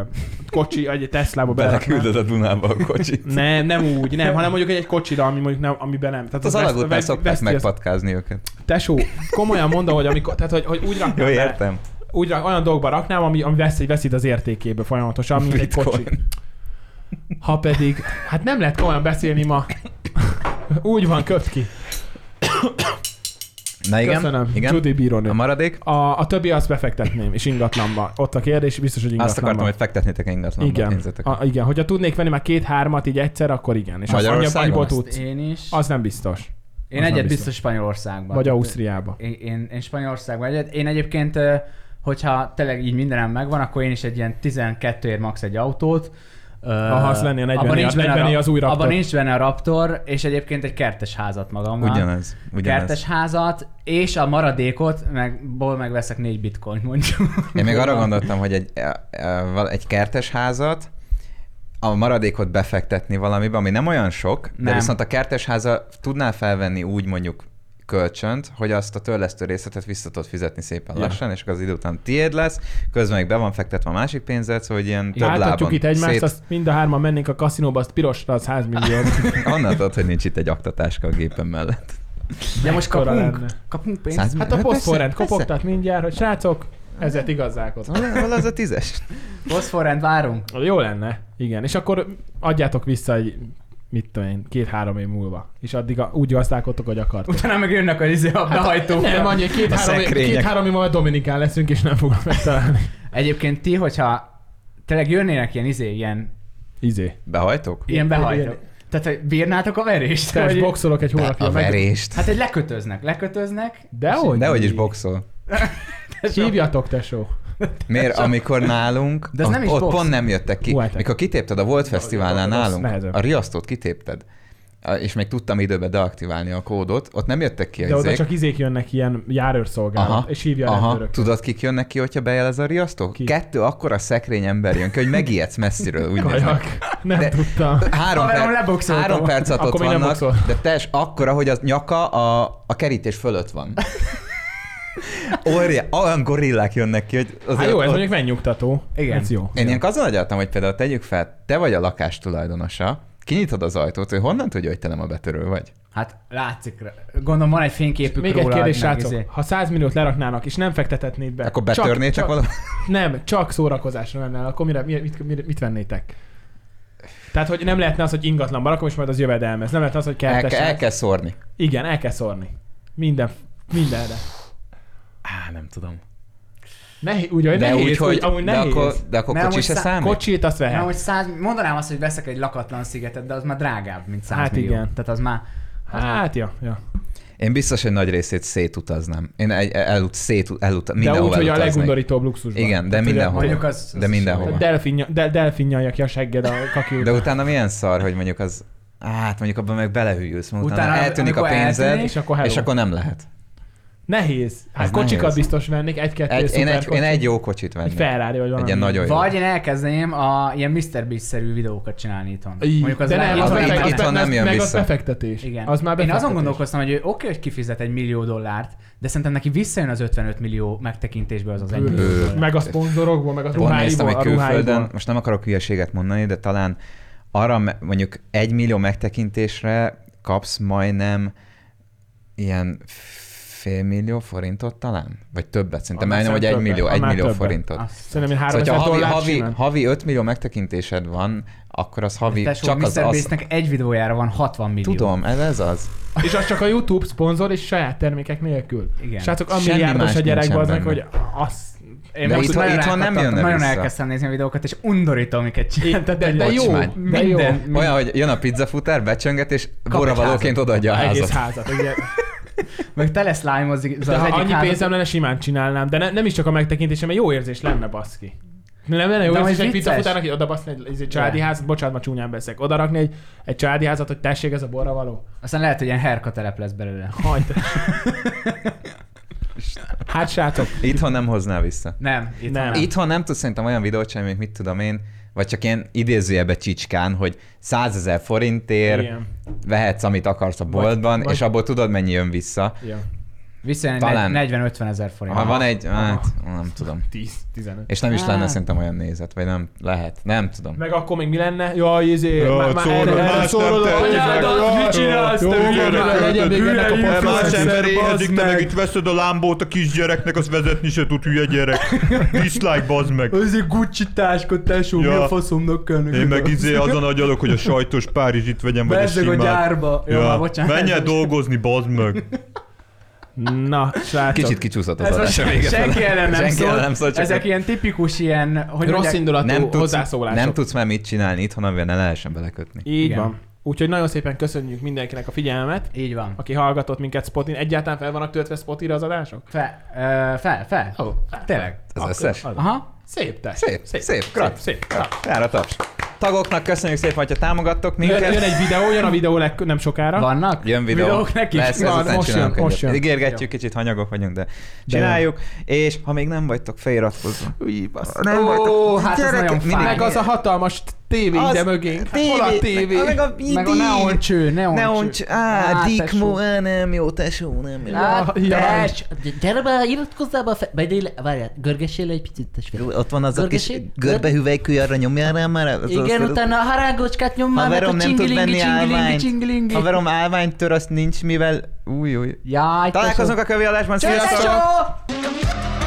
B: kocsi, egy Teslába beleraknám.
C: Beleküldöd a Dunába a kocsit. Hát
B: Ne, nem úgy, nem, hanem mondjuk egy, egy kocsira, ami mondjuk nem, amiben nem. Tehát
C: Hát az
B: veszt-
C: alagútnál
B: veszt-
C: szokták
B: veszti az-
C: megpatkázni őket.
B: Tesó, komolyan mondom, hogy amikor, tehát hogy, hogy úgy
C: Jó,
B: raknám be,
C: értem.
B: úgy rak, olyan dolgokba raknám, ami, ami veszít, veszít az értékéből folyamatosan, mint egy kocsi.
C: Bitcoin.
B: Ha pedig, hát nem lehet komolyan beszélni ma. Úgy van, köpt ki.
C: Na igen,
B: Köszönöm,
C: igen.
B: Judy bírónő.
C: A maradék?
B: A, a többi azt befektetném, és ingatlanba. Ott a kérdés, biztos, hogy
C: Azt
B: ingatlanba.
C: akartam, hogy fektetnétek ingatlanba a
B: igen.
C: pénzeteket.
B: A, igen, hogyha tudnék venni már két-hármat így egyszer, akkor igen. És azt mondja,
C: Magyarországon?
B: annyiból
A: azt
B: tudsz.
A: én is.
B: Az nem biztos.
A: én
B: az nem
A: egyet
B: biztos.
A: biztos Spanyolországban.
B: Vagy
A: Tehát,
B: Ausztriába.
A: Én, én, én Spanyolországban egyet. Én egyébként, ö, hogyha tényleg így mindenem megvan, akkor én is egy ilyen 12 ér max egy autót.
B: Aha, az lenni a 40 ér, 40 ér az új Raptor.
A: Abban nincs benne a Raptor, és egyébként egy kertes házat magammal.
C: Ugyanez.
A: kertes
C: Ugyanez.
A: házat, és a maradékot, meg, ból megveszek négy bitcoin mondjuk.
C: Én még arra gondoltam, hogy egy, e, e, val- egy kertes házat, a maradékot befektetni valamibe, ami nem olyan sok, nem. de
A: Nem.
C: viszont a kertes háza tudnál felvenni úgy mondjuk kölcsönt, hogy azt a törlesztő részletet vissza tudod fizetni szépen
B: Ja.
C: lassan, és akkor az idő után tiéd lesz, közben még be van fektetve a másik pénzed, szóval hogy ilyen több
B: Láthatjuk
C: lábon
B: hát itt egymást,
C: szét...
B: azt mind a hárman mennénk a kaszinóba, azt pirosra, az 100 millió.
C: Onnan tudod, hogy nincs itt egy aktatáska a gépem mellett.
A: De most
B: Mekkora
A: kapunk,
B: lenne?
A: kapunk pénzt.
C: 100
B: Hát a poszforrend
C: persze, persze.
B: kopogtat mindjárt, hogy srácok, ezzel igazálkozom.
C: Hol- Hol az a tízes?
A: Boszforrend várunk.
B: Jó lenne, igen. És akkor adjátok vissza egy, mit tudom én, két-három év múlva. És addig a, úgy gazdálkodtok, hogy akartok.
A: Utána meg jönnek az izé abdahajtók.
B: Hát, Nem, annyi, hogy két-három év,
C: szekrények.
B: két, három év múlva Dominikán leszünk, és nem fogom megtalálni.
A: Egyébként ti, hogyha tényleg jönnének ilyen izé, ilyen,
B: Izé.
C: Behajtok?
A: ilyen behajtók.
B: ilyen-
A: Tehát, hogy bírnátok a verést?
B: Te is
A: Vagy-
B: boxolok egy hónapja.
C: A verést.
A: Hát egy lekötöznek, lekötöznek.
B: Dehogy.
C: Dehogy is boxol.
B: Hívjatok, tesó.
C: Miért, amikor nálunk,
A: De ez nem is
C: ott
A: box.
C: pont nem jöttek ki.
B: Hú, hát-
C: Mikor kitépted a Volt Fesztiválnál
B: az
C: nálunk,
B: nehezebb.
C: a riasztót kitépted, a- és még tudtam időben deaktiválni a kódot, ott nem jöttek ki
B: De
C: a
B: oda
C: izék.
B: csak izék jönnek ilyen járőrszolgálat,
C: Aha,
B: és hívja a
C: Aha,
B: rendőrök.
C: tudod ki jönnek ki, hogyha bejel ez a riasztó?
B: Ki?
C: Kettő akkora szekrény ember jön ki, hogy megijedsz messziről, úgy
B: Kajak.
C: néznek.
B: Nem
C: De- Hát,
B: tudtam.
C: Három,
A: Haverom,
C: per,
A: leboxoltam.
C: három perc alatt ott
B: Akkor még nem
C: vannak,
B: boxol.
C: de tes, akkora, hogy az nyaka a, a kerítés fölött van. Orja, olyan gorillák jönnek ki, hogy
B: Hát
C: azért
B: jó, ez
C: ott-
B: mondjuk megnyugtató.
A: Igen.
B: Ez jó.
C: Én ilyenkor azon agyaltam, hogy például tegyük fel, te vagy a lakás tulajdonosa, kinyitod az ajtót, hogy honnan tudja, hogy te nem a betörő vagy?
A: Hát látszik, rá. gondolom van egy fényképük
B: Még
A: róla.
B: egy kérdés,
A: meg
B: srácok.
A: izé.
B: Ha 100 milliót leraknának, és nem fektetetnéd be.
C: Akkor betörnétek
B: csak,
C: valami?
B: csak, Nem, csak szórakozásra menne el, akkor mire, mire, mit, mire, mit vennétek? Tehát, hogy nem lehetne az, hogy ingatlan barakom, és majd az jövedelmez. Nem lehetne az, hogy
C: El,
B: kertes.
C: kell- el kell szórni.
B: Igen, el kell szórni. Minden, mindenre.
C: Á, nem tudom.
B: Nehé, úgy, hogy
C: De
B: nehéz,
C: úgy, hogy...
B: amúgy
C: de,
B: nehéz.
C: akkor, de akkor
A: Mert
C: kocsi
A: amúgy
C: se
A: szá-
C: számít?
B: Kocsit azt
A: Na,
B: vehet.
A: hogy száz, mondanám azt, hogy veszek egy lakatlan szigetet, de az már drágább, mint 100
B: Hát
A: millió.
B: igen.
A: Tehát az már...
B: Hát, ja, ja.
C: Én biztos, hogy nagy részét szétutaznám. Én egy, elut, szét, elut,
B: De
C: mindenhova
B: úgy, hogy a
C: elutaznék.
B: legundorítóbb luxusban.
C: Igen, de
B: Tehát, hogy
C: mindenhol.
A: Mondjuk az... az
C: De mindenhol.
B: A delfin, de, delfin nyalja ki a segged a kakiúba.
C: De utána milyen szar, hogy mondjuk az... Hát mondjuk abban meg belehűlsz, mert utána,
A: Utána,
C: eltűnik a
A: amikor
C: pénzed,
A: eltűnik,
B: és akkor hello.
C: és akkor nem lehet.
B: Nehéz. Hát
C: Ez
B: kocsikat
C: nehéz.
B: biztos vennék, egy-kettő
C: Egy, én, egy, én
B: szuperkocsi.
C: egy jó kocsit
B: Egy
C: vennék.
B: Ferrari vagy valami.
C: Egy ilyen nagyon jó.
A: Vagy én elkezdeném a ilyen Mr. Beast-szerű videókat csinálni itthon.
B: Így,
A: Mondjuk az
B: de nem,
A: lehet,
B: az,
C: az
A: hogy
B: meg-
C: itt-
A: így
B: az,
A: lenne.
C: itthon
B: meg-
C: nem jön
B: meg az
C: vissza.
B: befektetés.
A: Igen.
B: Az már
A: Én
B: befektetés.
A: azon gondolkoztam, hogy ő oké, hogy kifizet egy millió dollárt, de szerintem neki visszajön az 55 millió megtekintésből az az egy
B: Bő.
A: millió dollár.
B: Meg a szponzorokból, meg a
C: Pont néztem
B: ruháiból,
C: egy
B: a
C: külföldön,
B: ruháiból.
C: most nem akarok hülyeséget mondani, de talán arra me- mondjuk egy millió megtekintésre kapsz majdnem ilyen félmillió forintot talán? Vagy többet, szerintem
B: Annál
C: elnyom, hogy egy
B: többet,
C: millió, egy
B: annál
C: millió
B: többet.
C: forintot.
A: Azt-
B: Szerintem én
C: Szóval,
B: 3000
C: hogyha havi,
B: dollár
C: havi,
B: simán.
C: havi 5 millió megtekintésed van, akkor az havi
A: Tesó,
C: csak az
A: Mr.
C: az.
A: Beastnek egy videójára van 60 millió.
C: Tudom, ez, ez az.
B: És az csak a YouTube szponzor és saját termékek nélkül.
A: Igen.
B: Srácok, a
C: Semmi
B: milliárdos
C: más
B: a gyerek
C: nincsen
B: az meg, hogy
C: benne.
B: az... Én
C: De
B: most
C: itt-
B: már-
A: nagyon
C: itthon nem
A: rákattantam,
C: jönne
A: Nagyon
C: vissza.
A: elkezdtem nézni a videókat, és undorító, amiket
B: de,
A: csináltak.
B: de, de jó,
C: Bocsmány.
B: de jó.
A: Minden-
C: Olyan, hogy jön a pizzafutár, becsönget, és borravalóként
A: házat.
C: odaadja a
B: Egész
C: házat.
B: házat, igen.
A: Meg tele slime-ozik az,
B: De
A: az
B: ha
A: egyik
B: annyi
A: házat.
B: pénzem lenne, simán csinálnám, de ne, nem is csak a megtekintésem, mert jó érzés lenne, baszki. Nem lenne jó
A: De
B: érzés,
A: hogy
B: egy
A: vicces.
B: pizza futárnak, hogy oda baszni egy, egy családi
A: De.
B: házat, bocsánat, ma csúnyán beszek, oda rakni egy, egy családi házat, hogy tessék, ez a borra való.
A: Aztán lehet, hogy ilyen herka telep lesz belőle.
B: Hajt. hát srácok,
C: Itthon nem hozná vissza.
A: Nem, itt
B: Nem.
A: nem.
B: Itt-
C: Itthon nem tudsz szerintem olyan videót csinálni, mint mit tudom én, vagy csak ilyen idézőjebe csicskán, hogy 100 ezer forintért Igen.
B: ilyen.
C: vehetsz, amit akarsz a boltban, vagy,
B: vagy-
C: és abból tudod, mennyi jön vissza.
B: ilyen.
A: Visszajön
C: Talán.
A: egy negy- 40-50 ezer forint.
C: Ha van egy,
B: Aha.
C: hát nem tudom.
B: 10, 15.
C: És nem is lenne
A: Hát.
C: szerintem olyan nézet, vagy nem lehet, nem tudom.
B: Meg akkor még mi lenne? Jaj, izé,
E: Jó,
B: már- már
E: szórod,
B: erre-
E: más
B: erre
E: nem
B: szórod a
E: tetted
B: anyádat,
E: meg.
B: mit csinálsz,
E: Jó,
B: te
E: jó,
B: hülye
E: jó,
B: vagy?
E: jó,
B: Legyen
E: jó,
B: még
E: hülye
B: ennek a
E: influencer
B: podcast.
E: Más ember éhezik,
B: Bazd
E: te meg
B: meg.
E: itt veszed a lámbót a kisgyereknek, az vezetni se tud, hülye gyerek. Dislike, bazd meg.
B: Ez egy izé Gucci táska, tesó,
E: Ja.
B: mi a faszomnak kellene?
E: Én meg izé azon agyalok, hogy a sajtos Párizsit vegyem, vagy a
A: Bezzeg a
E: simát.
A: gyárba. Jó, már
E: Ja.
A: bocsánat.
E: Menj el
A: Ez most-
E: dolgozni, bazd meg.
B: Na, srácok.
C: Kicsit kicsúszott az
A: Ez
C: adás a vége
A: most senki
C: felé.
A: ellen nem
C: Senki ellen
A: szól.
C: nem szól, csak
A: Ezek
C: hogy
A: ilyen tipikus ilyen, hogy
B: Rossz
A: mondják,
B: indulatú
C: nem tudsz,
B: hozzászólások.
C: nem tudsz már mit csinálni itthon, amivel ne lehessen belekötni.
B: Így
A: Igen.
B: van. Úgyhogy nagyon szépen köszönjük mindenkinek a figyelmet,
A: Így van.
B: aki hallgatott minket Spotin. Egyáltalán fel vannak töltve Spotira az adások?
A: Fel, ö, fel, fel.
B: Ó,
A: Tényleg.
C: hát Az összes?
A: Aha.
B: Szép te.
C: Szép, szép,
B: szép,
C: grat.
B: szép. grat.
C: Erre a taps. Tagoknak köszönjük szépen, hogyha támogattok
B: Jön,
C: minket.
B: jön, egy videó, jön a videó leg, nem sokára.
A: Vannak?
C: Jön videó.
A: Videók neki?
C: Lesz,
B: Van,
C: ezután
B: most
C: csinálunk
B: jön, most
C: egyet.
B: jön.
C: Ígérgetjük, kicsit hanyagok vagyunk, de csináljuk. és ha még nem vagytok, feliratkozva. Új, basz.
A: Ó, hát ez nagyon
C: mindig-
A: fáj.
B: Meg az a hatalmas t- tévé
C: Az-
B: ide mögénk. Hát hol a tévé?
C: Meg a, Hát
F: Meg a neoncső, neoncső.
C: Neon, á,
F: Á,
C: Dick
F: tesó.
C: Mo, á, nem jó, tesó, nem jó.
A: Hát,
B: Ja, ja.
A: Tess, gyere be, iratkozzál be a fe... Menj le, várjál, görgessél le egy picit, testvér.
C: Jó, Ott van az a kis
A: Görgesi?
C: görbehüvelykű, arra nyomjál rá már. Az
A: Igen,
C: azt-
A: utána a harágocskát nyom már, meg a
C: Haverom nem tud
A: csingilingi,
C: venni
A: csingilingi,
C: állványt.
A: csingilingi.
C: Haverom állványt tör, azt nincs mivel. Új, új.
F: Jaj,
C: Találkozunk a kövi adásban,
A: Cső,
C: sziasztok!
A: tesó!